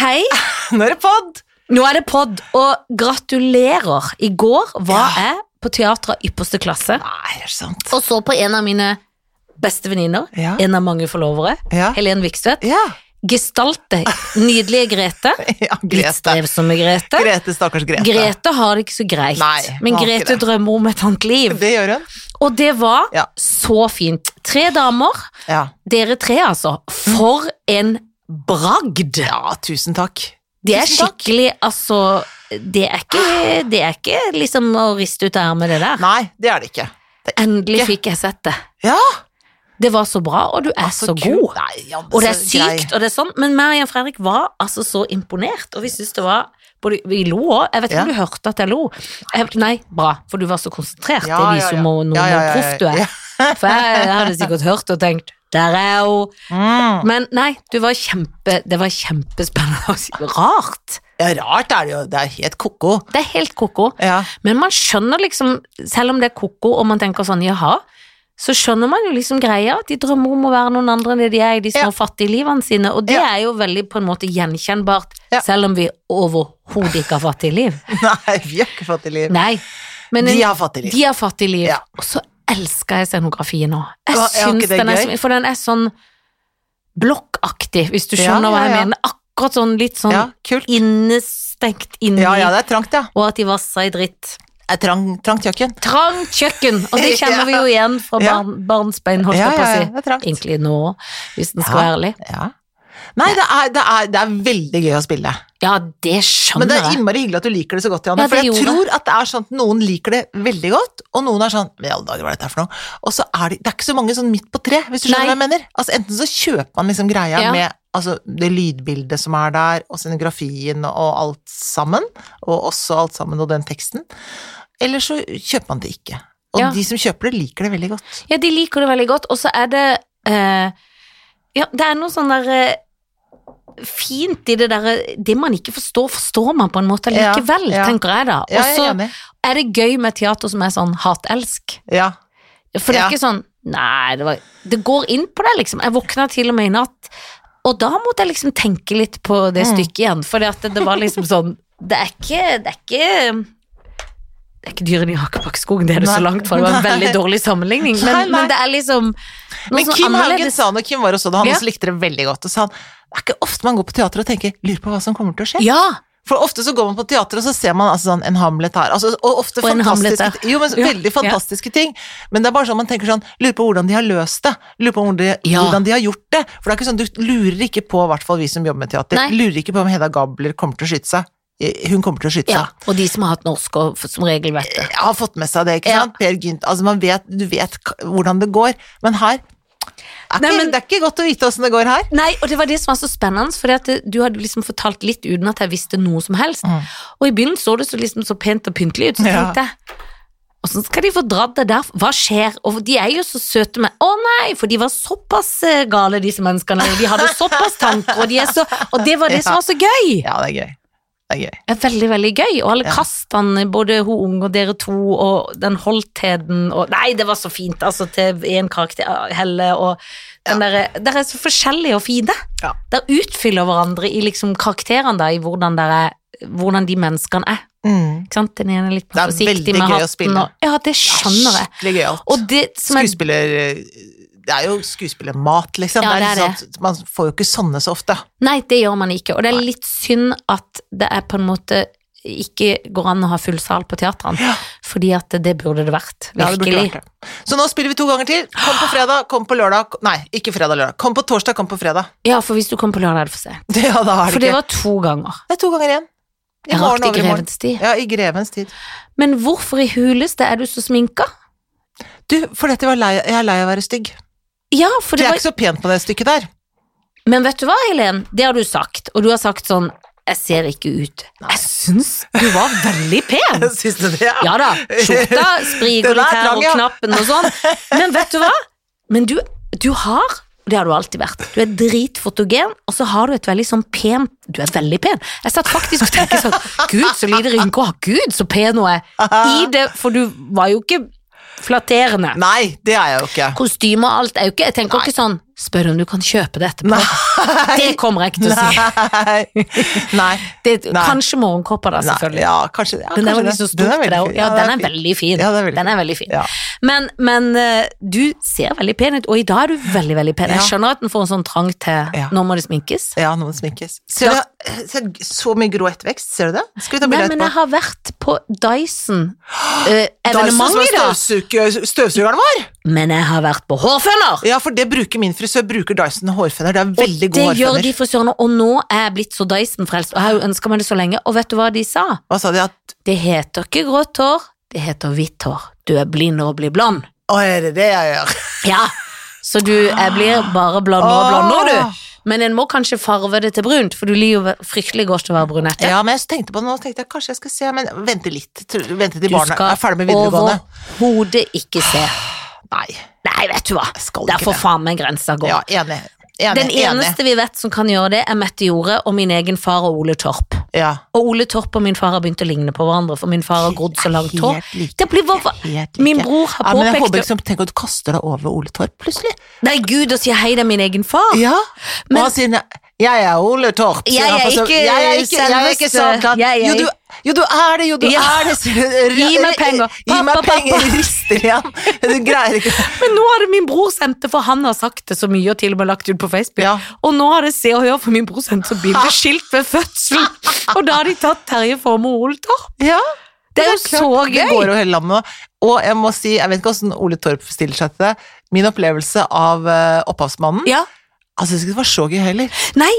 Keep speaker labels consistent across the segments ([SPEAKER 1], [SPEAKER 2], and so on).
[SPEAKER 1] Hei,
[SPEAKER 2] Nå er det pod!
[SPEAKER 1] nå er det podd, og gratulerer. I går var jeg på teater av ypperste klasse,
[SPEAKER 2] Nei, er det sant?
[SPEAKER 1] og så på en av mine beste venninner,
[SPEAKER 2] Ja.
[SPEAKER 1] en av mange forlovere,
[SPEAKER 2] Ja.
[SPEAKER 1] Helen Vikstvedt.
[SPEAKER 2] Ja.
[SPEAKER 1] Gestalte, nydelige Grete.
[SPEAKER 2] ja
[SPEAKER 1] Litt
[SPEAKER 2] Grete.
[SPEAKER 1] strevsomme Grete.
[SPEAKER 2] Grete, stakkars Grete.
[SPEAKER 1] Grete har det ikke så greit,
[SPEAKER 2] Nei, hun
[SPEAKER 1] men
[SPEAKER 2] har ikke
[SPEAKER 1] Grete
[SPEAKER 2] det.
[SPEAKER 1] drømmer om et annet liv.
[SPEAKER 2] Det gjør hun.
[SPEAKER 1] Og det var
[SPEAKER 2] Ja.
[SPEAKER 1] så fint. Tre damer,
[SPEAKER 2] Ja.
[SPEAKER 1] dere tre altså. For en bragd!
[SPEAKER 2] ja, tusen takk.
[SPEAKER 1] Det er
[SPEAKER 2] Tusen takk.
[SPEAKER 1] skikkelig, altså det er, ikke, det er ikke liksom å riste ut av ermet, det der.
[SPEAKER 2] Nei, det er det ikke.
[SPEAKER 1] Endelig
[SPEAKER 2] ikke.
[SPEAKER 1] fikk jeg sett det.
[SPEAKER 2] Ja,
[SPEAKER 1] Det var så bra, og du er så
[SPEAKER 2] kul.
[SPEAKER 1] god.
[SPEAKER 2] Nei, ja,
[SPEAKER 1] Og det er
[SPEAKER 2] så grei.
[SPEAKER 1] sykt, og det er sånn. Men meg og Fredrik var altså så imponert, og vi syntes det var både, Vi lo òg. Jeg vet ikke
[SPEAKER 2] Ja.
[SPEAKER 1] om du hørte at jeg lo. Jeg, nei, bra, for du var så konsentrert.
[SPEAKER 2] Ja, ja,
[SPEAKER 1] det viser
[SPEAKER 2] ja.
[SPEAKER 1] jo hvor
[SPEAKER 2] Ja, ja, ja,
[SPEAKER 1] proff du er.
[SPEAKER 2] ja.
[SPEAKER 1] For jeg, jeg hadde sikkert hørt og tenkt Der er hun!
[SPEAKER 2] Mm.
[SPEAKER 1] Men nei, du var kjempe, det var kjempespennende og rart.
[SPEAKER 2] Ja, rart er det jo. Det er helt ko-ko.
[SPEAKER 1] Det er helt ko-ko.
[SPEAKER 2] Ja.
[SPEAKER 1] Men man skjønner liksom, selv om det er koko og man tenker sånn, jaha, så skjønner man jo liksom greia at de drømmer om å være noen andre enn det de er i de små
[SPEAKER 2] Ja.
[SPEAKER 1] fattige livene sine, og det
[SPEAKER 2] Ja.
[SPEAKER 1] er jo veldig på en måte gjenkjennbart,
[SPEAKER 2] Ja.
[SPEAKER 1] selv om vi overhodet ikke har fattige liv.
[SPEAKER 2] Nei, vi har ikke fattig liv.
[SPEAKER 1] Nei, men
[SPEAKER 2] De
[SPEAKER 1] en-
[SPEAKER 2] har fattig liv.
[SPEAKER 1] de har fattige liv.
[SPEAKER 2] Ja.
[SPEAKER 1] Og så elsker jeg scenografien nå. Jeg
[SPEAKER 2] Ja, er ikke det
[SPEAKER 1] syns den er
[SPEAKER 2] gøy?
[SPEAKER 1] så For den er sånn blokkaktig, hvis du
[SPEAKER 2] Ja,
[SPEAKER 1] skjønner hva
[SPEAKER 2] ja,
[SPEAKER 1] jeg
[SPEAKER 2] ja.
[SPEAKER 1] mener. Akkurat sånn litt sånn
[SPEAKER 2] Ja, kult.
[SPEAKER 1] innestengt inni,
[SPEAKER 2] Ja, ja, det er trangt, ja.
[SPEAKER 1] og at de vasser i dritt.
[SPEAKER 2] Det er trang, trangt kjøkken.
[SPEAKER 1] Trang kjøkken, og det kjenner vi jo igjen fra
[SPEAKER 2] Ja.
[SPEAKER 1] barn, barnsbein, holdt
[SPEAKER 2] Ja,
[SPEAKER 1] jeg på
[SPEAKER 2] ja, ja,
[SPEAKER 1] å
[SPEAKER 2] det er
[SPEAKER 1] si.
[SPEAKER 2] trangt.
[SPEAKER 1] Egentlig nå, hvis den skal
[SPEAKER 2] Ja.
[SPEAKER 1] være ærlig.
[SPEAKER 2] Ja. Nei, det er, det, er, det er veldig gøy å spille.
[SPEAKER 1] Ja, det
[SPEAKER 2] Men det
[SPEAKER 1] skjønner
[SPEAKER 2] er
[SPEAKER 1] jeg.
[SPEAKER 2] innmari hyggelig at du liker det så godt, Janne.
[SPEAKER 1] Ja, det
[SPEAKER 2] for jeg
[SPEAKER 1] gjorde
[SPEAKER 2] tror at det er sånn at noen liker det veldig godt, og noen er sånn Hva i alle dager, hva er dette her for noe? Og så er det, det er ikke så mange sånn midt på tre, hvis du skjønner
[SPEAKER 1] Nei.
[SPEAKER 2] hva jeg mener. Altså enten så kjøper man liksom greia
[SPEAKER 1] Ja.
[SPEAKER 2] med altså, det lydbildet som er der, og scenografien og alt sammen, og også alt sammen og den teksten, eller så kjøper man det ikke. Og
[SPEAKER 1] Ja.
[SPEAKER 2] de som kjøper det, liker det veldig godt.
[SPEAKER 1] Ja, de liker det veldig godt, og så er det eh, Ja, det er noe sånn der eh, Fint i det derre Det man ikke forstår, forstår man på en måte
[SPEAKER 2] Ja,
[SPEAKER 1] likevel,
[SPEAKER 2] ja.
[SPEAKER 1] tenker jeg da.
[SPEAKER 2] Ja,
[SPEAKER 1] Og
[SPEAKER 2] jeg
[SPEAKER 1] så
[SPEAKER 2] er enig.
[SPEAKER 1] er det gøy med teater som er sånn hat-elsk.
[SPEAKER 2] Ja.
[SPEAKER 1] For det er
[SPEAKER 2] Ja.
[SPEAKER 1] ikke sånn Nei, det, var, det går inn på deg, liksom. Jeg våkna til og med i natt, og da måtte jeg liksom tenke litt på det
[SPEAKER 2] Mm.
[SPEAKER 1] stykket igjen. For det, det var liksom sånn Det er ikke Det er ikke det er ikke dyrene i Hakebakkskogen, det er det så
[SPEAKER 2] Nei.
[SPEAKER 1] langt fra. Det var en
[SPEAKER 2] Nei.
[SPEAKER 1] veldig dårlig sammenligning, men,
[SPEAKER 2] Nei, nei.
[SPEAKER 1] men det er liksom noe
[SPEAKER 2] Men
[SPEAKER 1] sånn
[SPEAKER 2] Kim Haugen
[SPEAKER 1] annerledes.
[SPEAKER 2] sa når Kim var og så det, han
[SPEAKER 1] Ja.
[SPEAKER 2] også likte det veldig godt, og sa han det er ikke ofte man går på teater og tenker 'lurer på hva som kommer til å skje'.
[SPEAKER 1] Ja,
[SPEAKER 2] For ofte så går man på teater, og så ser man altså, sånn, en Hamlet her. Altså, og ofte
[SPEAKER 1] Og en Hamlet
[SPEAKER 2] fantastiske, jo, men,
[SPEAKER 1] Ja,
[SPEAKER 2] veldig
[SPEAKER 1] ja.
[SPEAKER 2] fantastiske ting. Men det er bare sånn man tenker sånn Lurer på hvordan de har løst det. Lurer på hvordan de,
[SPEAKER 1] Ja.
[SPEAKER 2] hvordan de har gjort det. For det er ikke sånn, du lurer ikke på, i hvert fall vi som jobber med teater,
[SPEAKER 1] Nei.
[SPEAKER 2] lurer ikke på om Hedda Gabler kommer til å skyte seg. Eh, Hun kommer til å skyte
[SPEAKER 1] ja.
[SPEAKER 2] seg.
[SPEAKER 1] Og de som har hatt norsk, og f- som regel vet det.
[SPEAKER 2] Jeg har fått med seg det, ikke
[SPEAKER 1] Ja.
[SPEAKER 2] sant? Per Gynt. Altså, man vet, du vet k- hvordan det går, men her er ikke,
[SPEAKER 1] Nei, men-
[SPEAKER 2] Det er ikke godt å vite åssen det går her.
[SPEAKER 1] Nei, og det var det som var så spennende, for du hadde liksom fortalt litt uten at jeg visste noe som helst.
[SPEAKER 2] Mm.
[SPEAKER 1] Og i begynnelsen så det så liksom så pent og pyntelig ut, så
[SPEAKER 2] Ja.
[SPEAKER 1] tenkte jeg Åssen skal de få dratt det der? Hva skjer? Og de er jo så søte med Å nei, for de var såpass eh, gale, disse menneskene. Og de hadde såpass tanker, og de er så Og det var det
[SPEAKER 2] Ja.
[SPEAKER 1] som var så gøy!
[SPEAKER 2] Ja, det er gøy. Det er gøy.
[SPEAKER 1] Det er veldig, veldig gøy. Og alle
[SPEAKER 2] Ja.
[SPEAKER 1] kastene, både hun unge og dere to, og den holdtheten og Nei, det var så fint, altså, til én karakter, Helle, og den derre Dere er så forskjellige og fine.
[SPEAKER 2] Ja.
[SPEAKER 1] Dere utfyller hverandre i liksom karakterene, da, i hvordan, dere, hvordan de menneskene er.
[SPEAKER 2] Mm.
[SPEAKER 1] Ikke sant? Den ene er litt
[SPEAKER 2] Det er
[SPEAKER 1] forsiktig
[SPEAKER 2] veldig gøy
[SPEAKER 1] med
[SPEAKER 2] å
[SPEAKER 1] hatten.
[SPEAKER 2] spille.
[SPEAKER 1] Og, ja, det
[SPEAKER 2] Det er
[SPEAKER 1] skjønner jeg.
[SPEAKER 2] Skikkelig gøyalt.
[SPEAKER 1] Og det som er
[SPEAKER 2] skuespiller eh, Det er jo skuespillermat, liksom.
[SPEAKER 1] Ja,
[SPEAKER 2] det er
[SPEAKER 1] det er
[SPEAKER 2] litt sånn at man får jo ikke sånne så ofte.
[SPEAKER 1] Nei, det gjør man ikke. Og det er litt synd at det er på en måte ikke går an å ha full sal på teatrene, fordi at det burde det vært.
[SPEAKER 2] Ja, det burde
[SPEAKER 1] Virkelig.
[SPEAKER 2] vært det. Så nå spiller vi to ganger til. Kom på fredag, kom på lørdag. k- Nei, ikke fredag, lørdag. Kom på torsdag, kom på fredag.
[SPEAKER 1] Ja, for hvis du kommer på lørdag, er det for sent.
[SPEAKER 2] Ja, da er det
[SPEAKER 1] For det
[SPEAKER 2] ikke
[SPEAKER 1] var to ganger.
[SPEAKER 2] Det er to ganger igjen. I
[SPEAKER 1] Jeg
[SPEAKER 2] morgen
[SPEAKER 1] rakk det
[SPEAKER 2] over
[SPEAKER 1] i
[SPEAKER 2] i morgen.
[SPEAKER 1] Grevens tid.
[SPEAKER 2] Ja, i grevens tid.
[SPEAKER 1] Men hvorfor i huleste er du så sminka?
[SPEAKER 2] Du, for dette var lei, jeg er lei av å være stygg.
[SPEAKER 1] Ja, for
[SPEAKER 2] Det
[SPEAKER 1] det
[SPEAKER 2] er
[SPEAKER 1] var
[SPEAKER 2] ikke så pent på det stykket der.
[SPEAKER 1] Men vet du hva, Helen? Det har du sagt. Og du har sagt sånn Jeg ser ikke ut. Jeg syns du var veldig pen.
[SPEAKER 2] Syns du det?
[SPEAKER 1] Ja da, skjorta
[SPEAKER 2] Den er
[SPEAKER 1] spriker litt her,
[SPEAKER 2] trang,
[SPEAKER 1] og
[SPEAKER 2] ja.
[SPEAKER 1] knappen og sånn. Men vet du hva? Men du, du har det har du alltid vært. Du er dritfotogen, og så har du et veldig sånn pen Du er veldig pen. Jeg satt faktisk og tenkte sånn Gud, så lite rynker. Å, Gud, så pen hun er. I det, for du var jo ikke flatterende.
[SPEAKER 2] Nei, det er jeg jo ikke.
[SPEAKER 1] Kostyme og alt er jo ikke Jeg tenker ikke sånn Spør om du kan kjøpe det etterpå. Det kommer jeg ikke til å si.
[SPEAKER 2] Nei. Nei.
[SPEAKER 1] Det,
[SPEAKER 2] Nei.
[SPEAKER 1] kanskje morgenkåper, da,
[SPEAKER 2] Nei.
[SPEAKER 1] selvfølgelig.
[SPEAKER 2] Ja, kanskje, ja,
[SPEAKER 1] Den
[SPEAKER 2] kanskje
[SPEAKER 1] der var
[SPEAKER 2] det.
[SPEAKER 1] litt så stor
[SPEAKER 2] veldig
[SPEAKER 1] til
[SPEAKER 2] fin.
[SPEAKER 1] deg òg. Ja, den er veldig fin.
[SPEAKER 2] Ja, den er veldig
[SPEAKER 1] Den er veldig fin.
[SPEAKER 2] Ja.
[SPEAKER 1] Men, men eh, du ser veldig pen ut, og i dag er du veldig, veldig pen. Jeg
[SPEAKER 2] Ja.
[SPEAKER 1] skjønner at den får en sånn trang til
[SPEAKER 2] Ja.
[SPEAKER 1] Nå må det sminkes.
[SPEAKER 2] Ja, nå må det sminkes. Ser
[SPEAKER 1] Da-
[SPEAKER 2] du, ser du så mye grå ettervekst, ser du det? Skal vi ta
[SPEAKER 1] Nei,
[SPEAKER 2] bilde
[SPEAKER 1] men
[SPEAKER 2] etterpå?
[SPEAKER 1] jeg har vært på
[SPEAKER 2] Dyson som
[SPEAKER 1] Dyson-evenement
[SPEAKER 2] er
[SPEAKER 1] i dag.
[SPEAKER 2] støvsuge- støvsugeren vår!
[SPEAKER 1] Men jeg har vært på hårføner!
[SPEAKER 2] Ja, for det bruker min frisør. Bruker Dyson hårføner. Det er veldig
[SPEAKER 1] det
[SPEAKER 2] god
[SPEAKER 1] gjør de
[SPEAKER 2] hårføner.
[SPEAKER 1] frisørene, og nå er jeg blitt så Dyson-frelst, og jeg har jo ønska meg det så lenge, og vet du hva de sa?
[SPEAKER 2] Hva sa de? At
[SPEAKER 1] Det heter ikke grått hår, det heter hvitt hår. Du er blind når du blir blond.
[SPEAKER 2] Å, er det det jeg gjør?
[SPEAKER 1] Ja, så du jeg blir bare blondere og blondere, du. Men en må kanskje farve det til brunt, for du liker jo fryktelig godt å være brunette.
[SPEAKER 2] Ja, men jeg tenkte på det nå, så tenkte jeg kanskje jeg skal se, men vente litt. Tror- Vente til
[SPEAKER 1] Du
[SPEAKER 2] barna
[SPEAKER 1] skal
[SPEAKER 2] er ferdig med videregående.
[SPEAKER 1] overhodet ikke se.
[SPEAKER 2] Nei,
[SPEAKER 1] Nei, vet du hva.
[SPEAKER 2] jeg skal
[SPEAKER 1] Der
[SPEAKER 2] ikke
[SPEAKER 1] får
[SPEAKER 2] det.
[SPEAKER 1] faen meg grensa gå.
[SPEAKER 2] Ja, enig. enig
[SPEAKER 1] Den
[SPEAKER 2] enig.
[SPEAKER 1] eneste vi vet som kan gjøre det, er Mette Jorde og min egen far og Ole Torp.
[SPEAKER 2] Ja.
[SPEAKER 1] Og Ole Torp og min far har begynt å ligne på hverandre, for min far har grodd så langt hår.
[SPEAKER 2] Helt like.
[SPEAKER 1] Det blir hvorfor-
[SPEAKER 2] Helt like.
[SPEAKER 1] Min bror har
[SPEAKER 2] ja, men jeg
[SPEAKER 1] påpekt
[SPEAKER 2] håper liksom,
[SPEAKER 1] det.
[SPEAKER 2] ikke som tenker at du kaster deg over Ole Torp plutselig.
[SPEAKER 1] Nei, gud, og sier hei, det er min egen far.
[SPEAKER 2] Ja, og
[SPEAKER 1] Men-
[SPEAKER 2] han sier nei, jeg er Ole Torp. sier
[SPEAKER 1] Jeg
[SPEAKER 2] han
[SPEAKER 1] er
[SPEAKER 2] på så-
[SPEAKER 1] ikke
[SPEAKER 2] jeg er ikke, jeg er ikke
[SPEAKER 1] selveste-
[SPEAKER 2] Sandland.
[SPEAKER 1] jeg er
[SPEAKER 2] Jo, du, jo, du er det, jo, du
[SPEAKER 1] Ja.
[SPEAKER 2] er det. sier du.
[SPEAKER 1] Gi meg penger.
[SPEAKER 2] Gi meg
[SPEAKER 1] Pappa,
[SPEAKER 2] penger,
[SPEAKER 1] pappa.
[SPEAKER 2] rister igjen. Du greier ikke.
[SPEAKER 1] Men nå har det min bror sendt det, for han har sagt det så mye og til og med lagt ut på Facebook.
[SPEAKER 2] Ja.
[SPEAKER 1] Og nå har det Se og Hør, for min bror sendte så bildeskilt ved fødselen. Og da har de tatt Terje Formoe og Ole Torp.
[SPEAKER 2] Ja,
[SPEAKER 1] Det er jo
[SPEAKER 2] klart,
[SPEAKER 1] så
[SPEAKER 2] Det
[SPEAKER 1] gøy!
[SPEAKER 2] går over hele landet. Og jeg må si, jeg vet ikke hvordan Ole Torp stiller seg til det, min opplevelse av eh, opphavsmannen,
[SPEAKER 1] Ja.
[SPEAKER 2] altså jeg synes ikke det var så gøy heller.
[SPEAKER 1] Nei,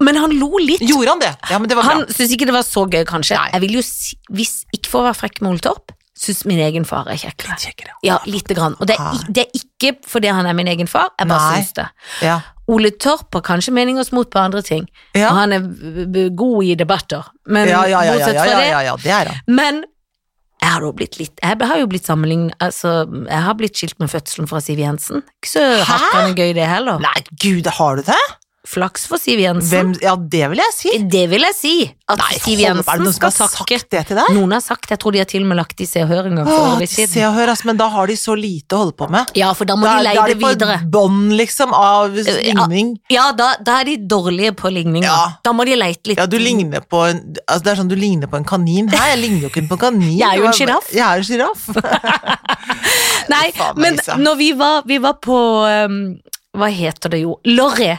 [SPEAKER 1] men han lo litt.
[SPEAKER 2] Gjorde han det? Ja, men det var bra.
[SPEAKER 1] Han syntes ikke det var så gøy, kanskje. Jeg vil jo si, hvis, Ikke for å være frekk med Ole Torp, syns min egen far er kjekkere.
[SPEAKER 2] Kjekkere.
[SPEAKER 1] Ja, lite grann. Og det er, i- det er ikke fordi han er min egen far, jeg bare
[SPEAKER 2] Nei.
[SPEAKER 1] syns det.
[SPEAKER 2] Ja.
[SPEAKER 1] Ole Torp har kanskje meninger mot på andre ting,
[SPEAKER 2] Ja.
[SPEAKER 1] og han er b- b- god i debatter, men
[SPEAKER 2] Ja, ja, ja, ja,
[SPEAKER 1] Um, bortsett
[SPEAKER 2] ja,
[SPEAKER 1] fra
[SPEAKER 2] ja,
[SPEAKER 1] det
[SPEAKER 2] ja, ja, det er han.
[SPEAKER 1] Men jeg har, jo blitt litt, jeg har jo blitt sammenlignet altså, Jeg har blitt skilt med fødselen fra Siv Jensen. Ikke så hakkende gøy, det heller.
[SPEAKER 2] Nei, gud, har du det?
[SPEAKER 1] Flaks for Siv Jensen. Eh,
[SPEAKER 2] Hvem, ja, det vil jeg si.
[SPEAKER 1] Det vil jeg si. At Siv
[SPEAKER 2] Holm, er det
[SPEAKER 1] Jensen
[SPEAKER 2] noen som
[SPEAKER 1] skal
[SPEAKER 2] har
[SPEAKER 1] takke.
[SPEAKER 2] sagt det til deg?
[SPEAKER 1] Noen har sagt Jeg tror de har til og med lagt i Se og Hør en gang for
[SPEAKER 2] Åh,
[SPEAKER 1] årevis
[SPEAKER 2] se
[SPEAKER 1] siden.
[SPEAKER 2] og hør, ass, men da har de så lite å holde på med.
[SPEAKER 1] Ja, for da må
[SPEAKER 2] da,
[SPEAKER 1] de leie
[SPEAKER 2] da er
[SPEAKER 1] det
[SPEAKER 2] de på
[SPEAKER 1] videre.
[SPEAKER 2] bånd, liksom, av ligning.
[SPEAKER 1] Ja, da, da er de dårlige på ligninger.
[SPEAKER 2] Ja.
[SPEAKER 1] Da må de leite litt.
[SPEAKER 2] Ja, du ligner på en altså, Det er sånn du ligner på en kanin. Hæ, jeg ligner jo ikke på en kanin.
[SPEAKER 1] Jeg er jo en
[SPEAKER 2] Hva-
[SPEAKER 1] giraff.
[SPEAKER 2] Jeg er en giraff.
[SPEAKER 1] Nei,
[SPEAKER 2] Faen,
[SPEAKER 1] men
[SPEAKER 2] Lisa.
[SPEAKER 1] når vi var, vi var på ehm, Hva heter det jo? Lorry.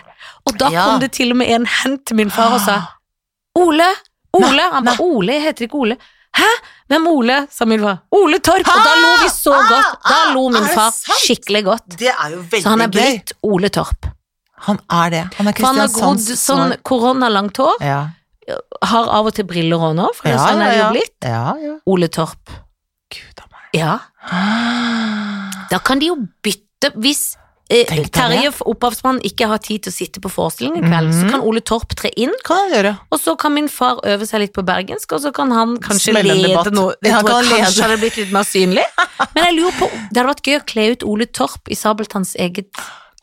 [SPEAKER 1] Og da
[SPEAKER 2] Ja.
[SPEAKER 1] kom det til og med en hen til min far og sa Ole! Ole! Han ba, Ole jeg heter ikke Ole. Hæ? Hvem Ole? sa min far. Ole Torp! Og da lo vi så
[SPEAKER 2] Ah,
[SPEAKER 1] godt. Da
[SPEAKER 2] ah,
[SPEAKER 1] lo min
[SPEAKER 2] er det
[SPEAKER 1] far
[SPEAKER 2] sant?
[SPEAKER 1] skikkelig godt.
[SPEAKER 2] Det er jo veldig
[SPEAKER 1] Så han er
[SPEAKER 2] gøy.
[SPEAKER 1] blitt Ole Torp.
[SPEAKER 2] Han er det. Han er
[SPEAKER 1] For han har grodd
[SPEAKER 2] Kristiansands
[SPEAKER 1] sånn koronalangt hår.
[SPEAKER 2] Ja,
[SPEAKER 1] Har av og til briller òg nå, for
[SPEAKER 2] ja,
[SPEAKER 1] sånn er det jo
[SPEAKER 2] ja.
[SPEAKER 1] blitt.
[SPEAKER 2] Ja, ja.
[SPEAKER 1] Ole Torp.
[SPEAKER 2] Gud a meg.
[SPEAKER 1] Ja.
[SPEAKER 2] Ah.
[SPEAKER 1] Da kan de jo bytte Hvis eh,
[SPEAKER 2] Tenk deg
[SPEAKER 1] Terje, opphavsmannen, ikke har tid til å sitte på forestillingen i kveld, så
[SPEAKER 2] Mhm.
[SPEAKER 1] kan Ole Torp tre inn,
[SPEAKER 2] Kan han gjøre?
[SPEAKER 1] og så kan min far øve seg litt på bergensk, og så kan han kanskje
[SPEAKER 2] Smelle en debatt.
[SPEAKER 1] lede noe. Jeg
[SPEAKER 2] Ja, han
[SPEAKER 1] tror
[SPEAKER 2] kan
[SPEAKER 1] kanskje
[SPEAKER 2] lede.
[SPEAKER 1] hadde blitt litt mer synlig. Men jeg lurer på, det hadde vært gøy å kle ut Ole Torp i Sabeltanns eget